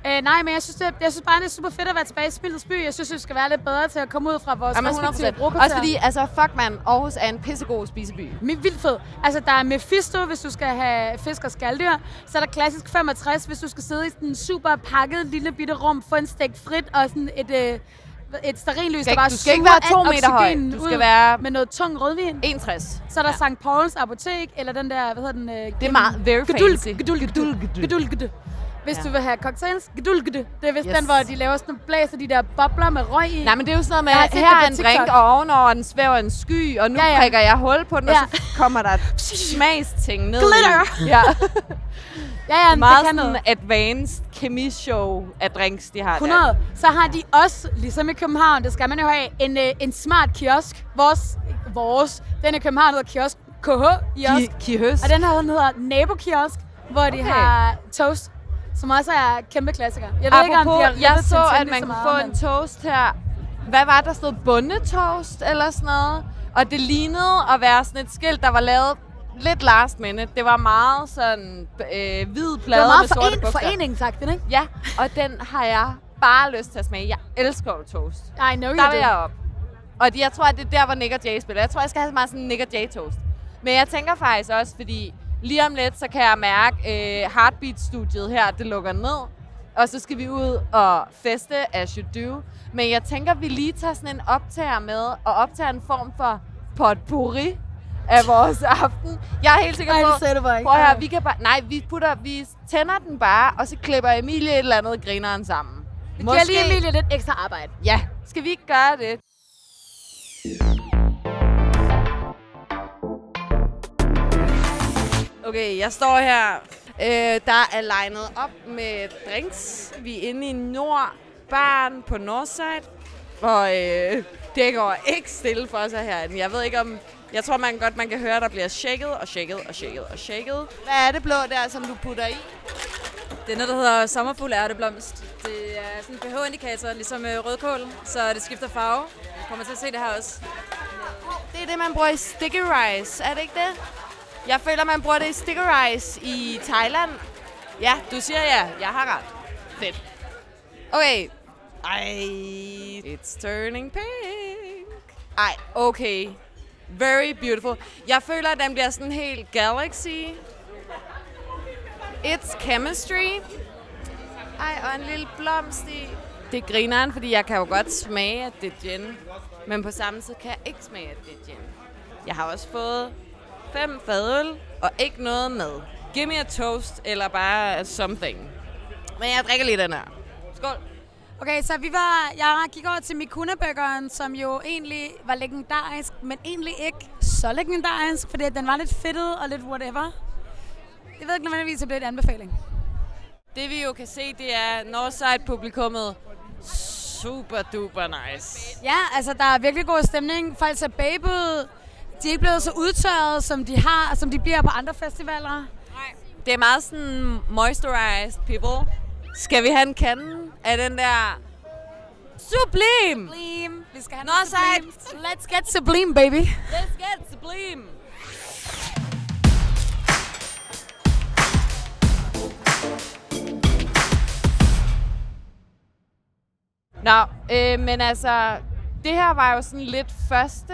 [SPEAKER 5] Øh, nej, men jeg synes, det, jeg synes bare, det er super fedt at være tilbage i Spildets by. Jeg synes, vi skal være lidt bedre til at komme ud fra vores
[SPEAKER 4] Jamen,
[SPEAKER 5] respektive
[SPEAKER 4] 100%.
[SPEAKER 5] brokvarter.
[SPEAKER 4] Også fordi, altså, fuck man, Aarhus er en pissegod spiseby.
[SPEAKER 5] Men vildt fed. Altså, der er Mephisto, hvis du skal have fisk og skaldyr. Så er der klassisk 65, hvis du skal sidde i sådan en super pakket lille bitte rum, få en stegt frit og sådan et, øh, et sterinlys,
[SPEAKER 4] skal
[SPEAKER 5] der
[SPEAKER 4] ikke-
[SPEAKER 5] bare
[SPEAKER 4] du skal ikke
[SPEAKER 5] suger
[SPEAKER 4] være to
[SPEAKER 5] alt
[SPEAKER 4] meter høj.
[SPEAKER 5] oxygenen
[SPEAKER 4] Du skal
[SPEAKER 5] ud
[SPEAKER 4] være-
[SPEAKER 5] Med noget tung rødvin.
[SPEAKER 4] 61.
[SPEAKER 5] Så er der ja. St. Pauls Apotek, eller den der, hvad hedder den? Øh, det
[SPEAKER 4] er meget- very
[SPEAKER 5] gedul,
[SPEAKER 4] fancy.
[SPEAKER 5] Gedul, gedul, gedul, gedul. Hvis
[SPEAKER 4] Ja.
[SPEAKER 5] ja. du vil have cocktails, gedul, gedul. Det er vist
[SPEAKER 4] Yes.
[SPEAKER 5] yes. den, hvor de laver sådan, blæser de der bobler med røg i.
[SPEAKER 4] Nej, men det er jo sådan noget med,
[SPEAKER 5] Jeg har set
[SPEAKER 4] her
[SPEAKER 5] det på
[SPEAKER 4] er en drink,
[SPEAKER 5] TikTok.
[SPEAKER 4] og ovenover den svæver en sky, og nu ja,
[SPEAKER 5] Ja,
[SPEAKER 4] ja.
[SPEAKER 5] ja.
[SPEAKER 4] prikker jeg hul på den, ja.
[SPEAKER 5] Ja.
[SPEAKER 4] og så kommer der smagsting ned. i.
[SPEAKER 5] Glitter!
[SPEAKER 4] Ja.
[SPEAKER 5] Ja, ja, men
[SPEAKER 4] Meget
[SPEAKER 5] det kan
[SPEAKER 4] sådan
[SPEAKER 5] noget.
[SPEAKER 4] advanced kemishow af drinks, de har
[SPEAKER 5] 100.
[SPEAKER 4] der.
[SPEAKER 5] Så har de også, ligesom i København, det skal man jo have, en, øh, en smart kiosk. Vores, vores, den i København hedder kiosk KH. Kiosk.
[SPEAKER 4] Ki- kiosk.
[SPEAKER 5] Og den her den hedder nabokiosk, hvor okay. de
[SPEAKER 4] Okay.
[SPEAKER 5] har toast, som også er kæmpe klassiker. Jeg ved
[SPEAKER 4] Apropos,
[SPEAKER 5] ikke, om de har ribbet
[SPEAKER 4] jeg så,
[SPEAKER 5] Tintin
[SPEAKER 4] at man
[SPEAKER 5] lige
[SPEAKER 4] kunne
[SPEAKER 5] så
[SPEAKER 4] få
[SPEAKER 5] meget,
[SPEAKER 4] en toast her. Hvad var det, der stod? Bundetoast eller sådan noget? Og det lignede at være sådan et skilt, der var lavet lidt last minute. Det var meget sådan øh, hvid
[SPEAKER 5] men Det
[SPEAKER 4] plade
[SPEAKER 5] var
[SPEAKER 4] med
[SPEAKER 5] meget
[SPEAKER 4] sorte
[SPEAKER 5] foren,
[SPEAKER 4] bogstaver.
[SPEAKER 5] foreningsagtigt, ikke?
[SPEAKER 4] Ja, og den har jeg bare lyst til at smage. Jeg elsker jo toast.
[SPEAKER 5] I know
[SPEAKER 4] der
[SPEAKER 5] you
[SPEAKER 4] vil
[SPEAKER 5] do.
[SPEAKER 4] jeg op. Og de- jeg tror, at det er der, hvor Nick og Jay spiller. Jeg tror, jeg skal have så meget sådan Nick og Jay toast. Men jeg tænker faktisk også, fordi lige om lidt, så kan jeg mærke, øh, Heartbeat-studiet her, det lukker ned. Og så skal vi ud og feste, as you do. Men jeg tænker, vi lige tager sådan en optager med, og optager en form for potpourri af vores aften. Jeg er helt sikker
[SPEAKER 5] Ej,
[SPEAKER 4] på,
[SPEAKER 5] det sagde du bare ikke.
[SPEAKER 4] prøv at høre,
[SPEAKER 5] Ej.
[SPEAKER 4] vi kan bare, nej, vi, putter, vi tænder den bare, og så klipper Emilie et eller andet grineren sammen.
[SPEAKER 5] Det giver lige Emilie lidt ekstra arbejde.
[SPEAKER 4] Ja, skal vi ikke gøre det? Okay, jeg står her. Øh, der er legnet op med drinks. Vi er inde i Nord Baren på Northside. Og øh, det går ikke stille for sig herinde. Jeg ved ikke om... Jeg tror man godt, man kan høre, der bliver shaket og shaket og shaket og shaket.
[SPEAKER 13] Hvad er det blå der, som du putter i?
[SPEAKER 14] Det er noget, der hedder sommerfuld ærteblomst. Det er sådan en pH-indikator, ligesom øh, rødkål, så det skifter farve. Jeg kommer til at se det her også.
[SPEAKER 13] Det er det, man bruger i sticky rice, er det ikke det? Jeg føler, man bruger det i sticky rice i Thailand.
[SPEAKER 4] Ja, du siger ja. Jeg har ret. Fedt. Okay. Ej. It's turning pink. Ej, okay. Very beautiful. Jeg føler, at den bliver sådan helt galaxy. It's chemistry. Ej, og en lille blomst i. Det er grineren, fordi jeg kan jo godt smage, at det er gin. Men på samme tid kan jeg ikke smage, at det er gin. Jeg har også fået fem fadøl og ikke noget med. Give me a toast eller bare something. Men jeg drikker lige den her. Skål.
[SPEAKER 5] Okay, så vi var, jeg gik over til Mikuna-burgeren, som jo egentlig var legendarisk, men egentlig ikke så legendarisk, fordi den var lidt fedtet og lidt whatever. Jeg ved ikke nødvendigvis, at det blev en anbefaling.
[SPEAKER 14] Det vi jo kan se, det
[SPEAKER 4] er Northside-publikummet. Super duper nice.
[SPEAKER 5] Ja, altså der er virkelig god stemning. Folk ser babe ud. De er ikke blevet så udtørret, som de har, som de bliver på andre festivaler.
[SPEAKER 14] Det er meget sådan moisturized people.
[SPEAKER 4] Skal vi have en kande af den der sublim?
[SPEAKER 5] Sublime. Vi skal have
[SPEAKER 4] Northside.
[SPEAKER 5] Let's get sublime, baby.
[SPEAKER 4] Let's get sublime. Nå, øh, men altså, det her var jo sådan lidt første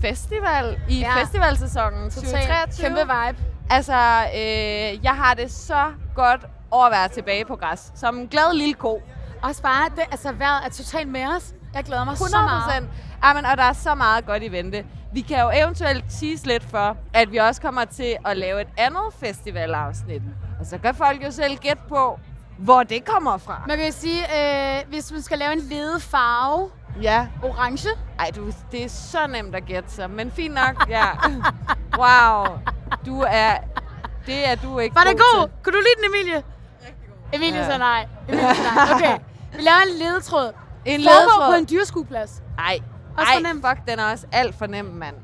[SPEAKER 4] festival i
[SPEAKER 5] Ja.
[SPEAKER 4] ja. festivalsæsonen
[SPEAKER 5] Totalt.
[SPEAKER 4] 2023.
[SPEAKER 5] Kæmpe vibe.
[SPEAKER 4] Altså, øh, jeg har det så godt over at være tilbage på græs. Som en glad lille ko.
[SPEAKER 5] Også bare, det, altså vejret er totalt med os. Jeg glæder mig
[SPEAKER 4] 100%.
[SPEAKER 5] så meget.
[SPEAKER 4] Jamen, og der er så meget godt i vente. Vi kan jo eventuelt tease lidt for, at vi også kommer til at lave et andet festivalafsnit. Og så kan folk jo selv gætte på, hvor det kommer fra.
[SPEAKER 5] Man kan jo sige, øh, hvis man skal lave en lede farve,
[SPEAKER 4] ja.
[SPEAKER 5] orange.
[SPEAKER 4] Ej, du, det er så nemt at gætte sig, men fint nok, ja. Wow, du er... Det er du ikke
[SPEAKER 5] Var det god?
[SPEAKER 4] til.
[SPEAKER 5] Kunne du lide den, Emilie? Emilie
[SPEAKER 4] Ja.
[SPEAKER 5] ja. sagde nej. Emilie sagde nej. Okay, vi laver en ledetråd.
[SPEAKER 4] En
[SPEAKER 5] Foregår
[SPEAKER 4] ledetråd.
[SPEAKER 5] på en dyreskueplads.
[SPEAKER 4] Ej,
[SPEAKER 5] Også
[SPEAKER 4] ej,
[SPEAKER 5] for nem.
[SPEAKER 4] fuck, den er også alt for nem, mand.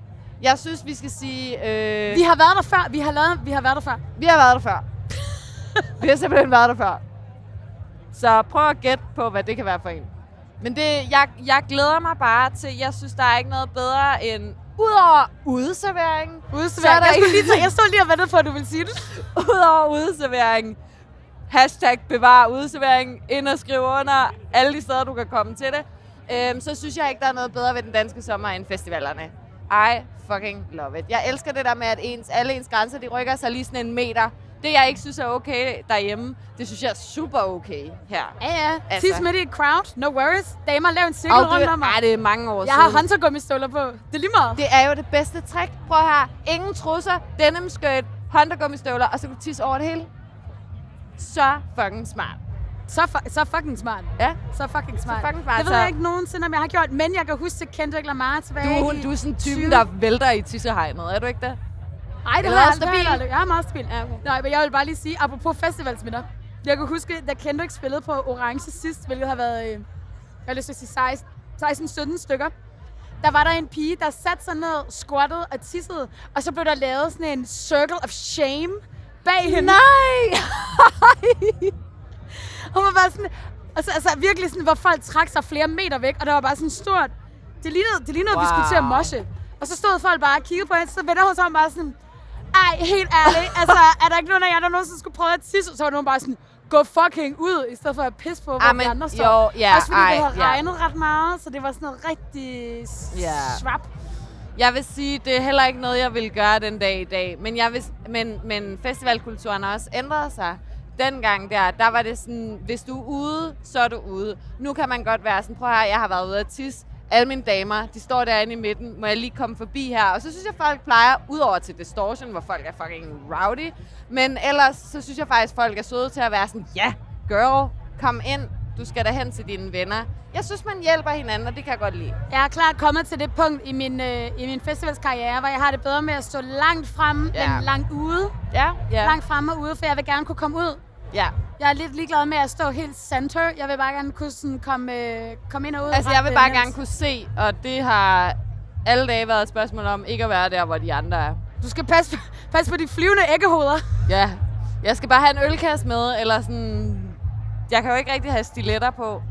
[SPEAKER 4] Jeg synes, vi skal sige... Øh,
[SPEAKER 5] Vi har været der før. Vi har, lavet, vi har været der før.
[SPEAKER 4] Vi har været der før. vi har simpelthen været der før. Så prøv at gætte på, hvad det kan være for en. Men det, jeg, jeg glæder mig bare til, jeg synes, der er ikke noget bedre end... Udover udeservering,
[SPEAKER 5] Udservering. Jeg skulle lige tage- jeg stod lige og ventede på, at du ville sige det.
[SPEAKER 4] Udover udeservering, hashtag bevar udeservering, ind og skriv under alle de steder, du kan komme til det. Øhm, så synes jeg ikke, der er noget bedre ved den danske sommer end festivalerne. I fucking love it. Jeg elsker det der med, at ens, alle ens grænser, de rykker sig lige sådan en meter. Det, jeg ikke synes er okay derhjemme, det synes jeg er super okay her.
[SPEAKER 5] Ja, ja. Altså. Tis midt i et crowd. No worries. Damer, lav en cirkel
[SPEAKER 4] Og det-
[SPEAKER 5] rundt om mig.
[SPEAKER 4] ej, det er mange år
[SPEAKER 5] Jeg har
[SPEAKER 4] siden.
[SPEAKER 5] håndtergummistøvler på. Det er lige meget.
[SPEAKER 4] Det er jo det bedste trick. Prøv her. Ingen trusser, denim skirt, håndtergummistøvler, og så kan du tisse over det hele. Så fucking smart.
[SPEAKER 5] Så, fu- så fucking smart.
[SPEAKER 4] Ja.
[SPEAKER 5] Så fucking smart.
[SPEAKER 4] fucking smart,
[SPEAKER 5] Det ved jeg
[SPEAKER 4] så-
[SPEAKER 5] ikke nogensinde, om jeg har gjort, men jeg kan huske til Kendrick Lamar tilbage.
[SPEAKER 4] Du,
[SPEAKER 5] i
[SPEAKER 4] du er sådan
[SPEAKER 5] 20.
[SPEAKER 4] typen, der vælter i tissehegnet, er du ikke det?
[SPEAKER 5] Ej, det
[SPEAKER 4] Eller
[SPEAKER 5] har jeg
[SPEAKER 4] er
[SPEAKER 5] aldrig.
[SPEAKER 4] stabil?
[SPEAKER 5] Jeg, aldrig. jeg er meget stabil. Ja, okay. Nej, men jeg vil bare lige sige, apropos festivalsminder. Jeg kan huske, da Kendrick spillede på Orange sidst, hvilket har været, øh, jeg har lyst til at sige 16-17 stykker. Der var der en pige, der satte sig ned, squattede og tissede, og så blev der lavet sådan en circle of shame bag hende.
[SPEAKER 4] Nej!
[SPEAKER 5] Hun var bare sådan, altså, altså virkelig sådan, hvor folk trak sig flere meter væk, og der var bare sådan stort, det lignede, det lignede wow. at vi skulle til at
[SPEAKER 4] Wow.
[SPEAKER 5] moshe. Og så stod folk bare og kiggede på hende, så vender hun sig om bare sådan, ej, helt ærligt, altså, er der ikke nogen af jer, der nogensinde skulle prøve at tisse? Så var nogen bare sådan, gå fucking ud, i stedet for at pisse på, hvor
[SPEAKER 4] Amen,
[SPEAKER 5] de andre står.
[SPEAKER 4] Ah, jo, ja,
[SPEAKER 5] Også fordi det
[SPEAKER 4] ej,
[SPEAKER 5] havde
[SPEAKER 4] ja.
[SPEAKER 5] regnet ret meget, så det var sådan noget rigtig
[SPEAKER 4] Ja.
[SPEAKER 5] yeah. svap.
[SPEAKER 4] Jeg vil sige, det er heller ikke noget, jeg vil gøre den dag i dag. Men, jeg vil, men, men festivalkulturen har også ændret sig. Dengang der, der var det sådan, hvis du er ude, så er du ude. Nu kan man godt være sådan, prøv her, jeg har været ude at tisse. Alle mine damer, de står derinde i midten. Må jeg lige komme forbi her? Og så synes jeg, folk plejer, udover til distortion, hvor folk er fucking rowdy. Men ellers, så synes jeg faktisk, folk er søde til at være sådan, ja, girl, kom ind. Du skal da hen til dine venner. Jeg synes, man hjælper hinanden, og det kan jeg godt lide.
[SPEAKER 5] Jeg er klart kommet til det punkt i min, øh, i min festivalskarriere, hvor jeg har det bedre med at stå langt fremme,
[SPEAKER 4] Ja.
[SPEAKER 5] yeah. end langt ude.
[SPEAKER 4] Ja, ja.
[SPEAKER 5] Langt fremme og ude, for jeg vil gerne kunne komme ud.
[SPEAKER 4] Ja,
[SPEAKER 5] Jeg er lidt ligeglad med at stå helt center. Jeg vil bare gerne kunne sådan komme, øh, komme ind og ud.
[SPEAKER 4] Altså,
[SPEAKER 5] ret
[SPEAKER 4] jeg vil bare
[SPEAKER 5] nemt.
[SPEAKER 4] gerne kunne se, og det har alle dage været et spørgsmål om ikke at være der, hvor de andre er.
[SPEAKER 5] Du skal passe, passe på de flyvende æggehoveder.
[SPEAKER 4] Ja, jeg skal bare have en ølkasse med, eller sådan... Jeg kan jo ikke rigtig have stiletter på.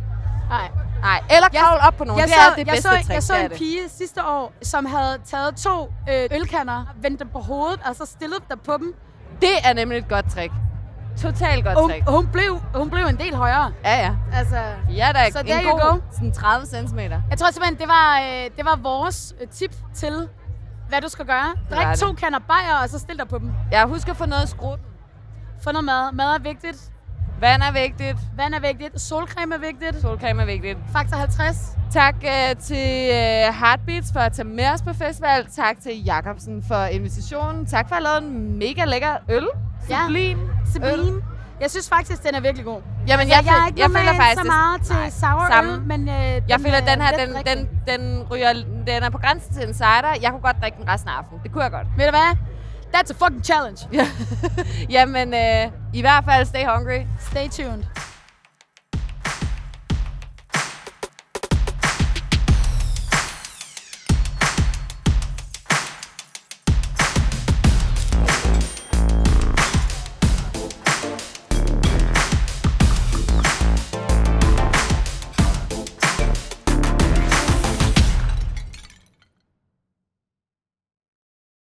[SPEAKER 5] Nej.
[SPEAKER 4] Nej, eller kravle op på nogen. det er det
[SPEAKER 5] jeg
[SPEAKER 4] bedste
[SPEAKER 5] så,
[SPEAKER 4] trick,
[SPEAKER 5] jeg så
[SPEAKER 4] det er
[SPEAKER 5] en
[SPEAKER 4] det.
[SPEAKER 5] pige sidste år, som havde taget to øh, ølkander, vendt dem på hovedet, og så stillet dem på dem.
[SPEAKER 4] Det er nemlig et godt trick. Totalt godt
[SPEAKER 5] og hun,
[SPEAKER 4] trick.
[SPEAKER 5] og hun, blev, hun blev en del højere.
[SPEAKER 4] Ja, ja.
[SPEAKER 5] Altså,
[SPEAKER 4] Ja, der er
[SPEAKER 5] så
[SPEAKER 4] en
[SPEAKER 5] there you
[SPEAKER 4] god
[SPEAKER 5] go.
[SPEAKER 4] sådan 30 cm.
[SPEAKER 5] Jeg tror simpelthen, det var, øh, det var vores øh, tip til, hvad du skal gøre. Drik
[SPEAKER 4] var det.
[SPEAKER 5] to kander bajer, og så stil dig på dem.
[SPEAKER 4] Jeg husker at få noget skrutten.
[SPEAKER 5] Få noget mad. Mad er vigtigt.
[SPEAKER 4] Vand er vigtigt.
[SPEAKER 5] Vand er vigtigt. Solcreme er vigtigt.
[SPEAKER 4] Solcreme er vigtigt.
[SPEAKER 5] Faktor 50.
[SPEAKER 4] Tak øh, til øh, Heartbeats for at tage med os på festival. Tak til Jacobsen for invitationen. Tak for at have lavet en mega lækker øl.
[SPEAKER 5] Ja.
[SPEAKER 4] Sublim.
[SPEAKER 5] Sublim. Jeg synes faktisk, den er virkelig god.
[SPEAKER 4] Jamen,
[SPEAKER 5] Altså,
[SPEAKER 4] jeg
[SPEAKER 5] jeg
[SPEAKER 4] fæ-
[SPEAKER 5] er ikke
[SPEAKER 4] jeg
[SPEAKER 5] normalt
[SPEAKER 4] føler faktisk,
[SPEAKER 5] så
[SPEAKER 4] det-
[SPEAKER 5] meget til
[SPEAKER 4] nej,
[SPEAKER 5] sour
[SPEAKER 4] samme.
[SPEAKER 5] øl, men øh, jeg
[SPEAKER 4] Jeg føler, at den her, den, den, den, ryger, den er på grænsen til en cider. Jeg kunne godt drikke den resten af aftenen. Det kunne jeg godt.
[SPEAKER 5] Ved du hvad? That's a fucking challenge.
[SPEAKER 4] Jamen, øh, i hvert fald, stay hungry.
[SPEAKER 5] Stay tuned.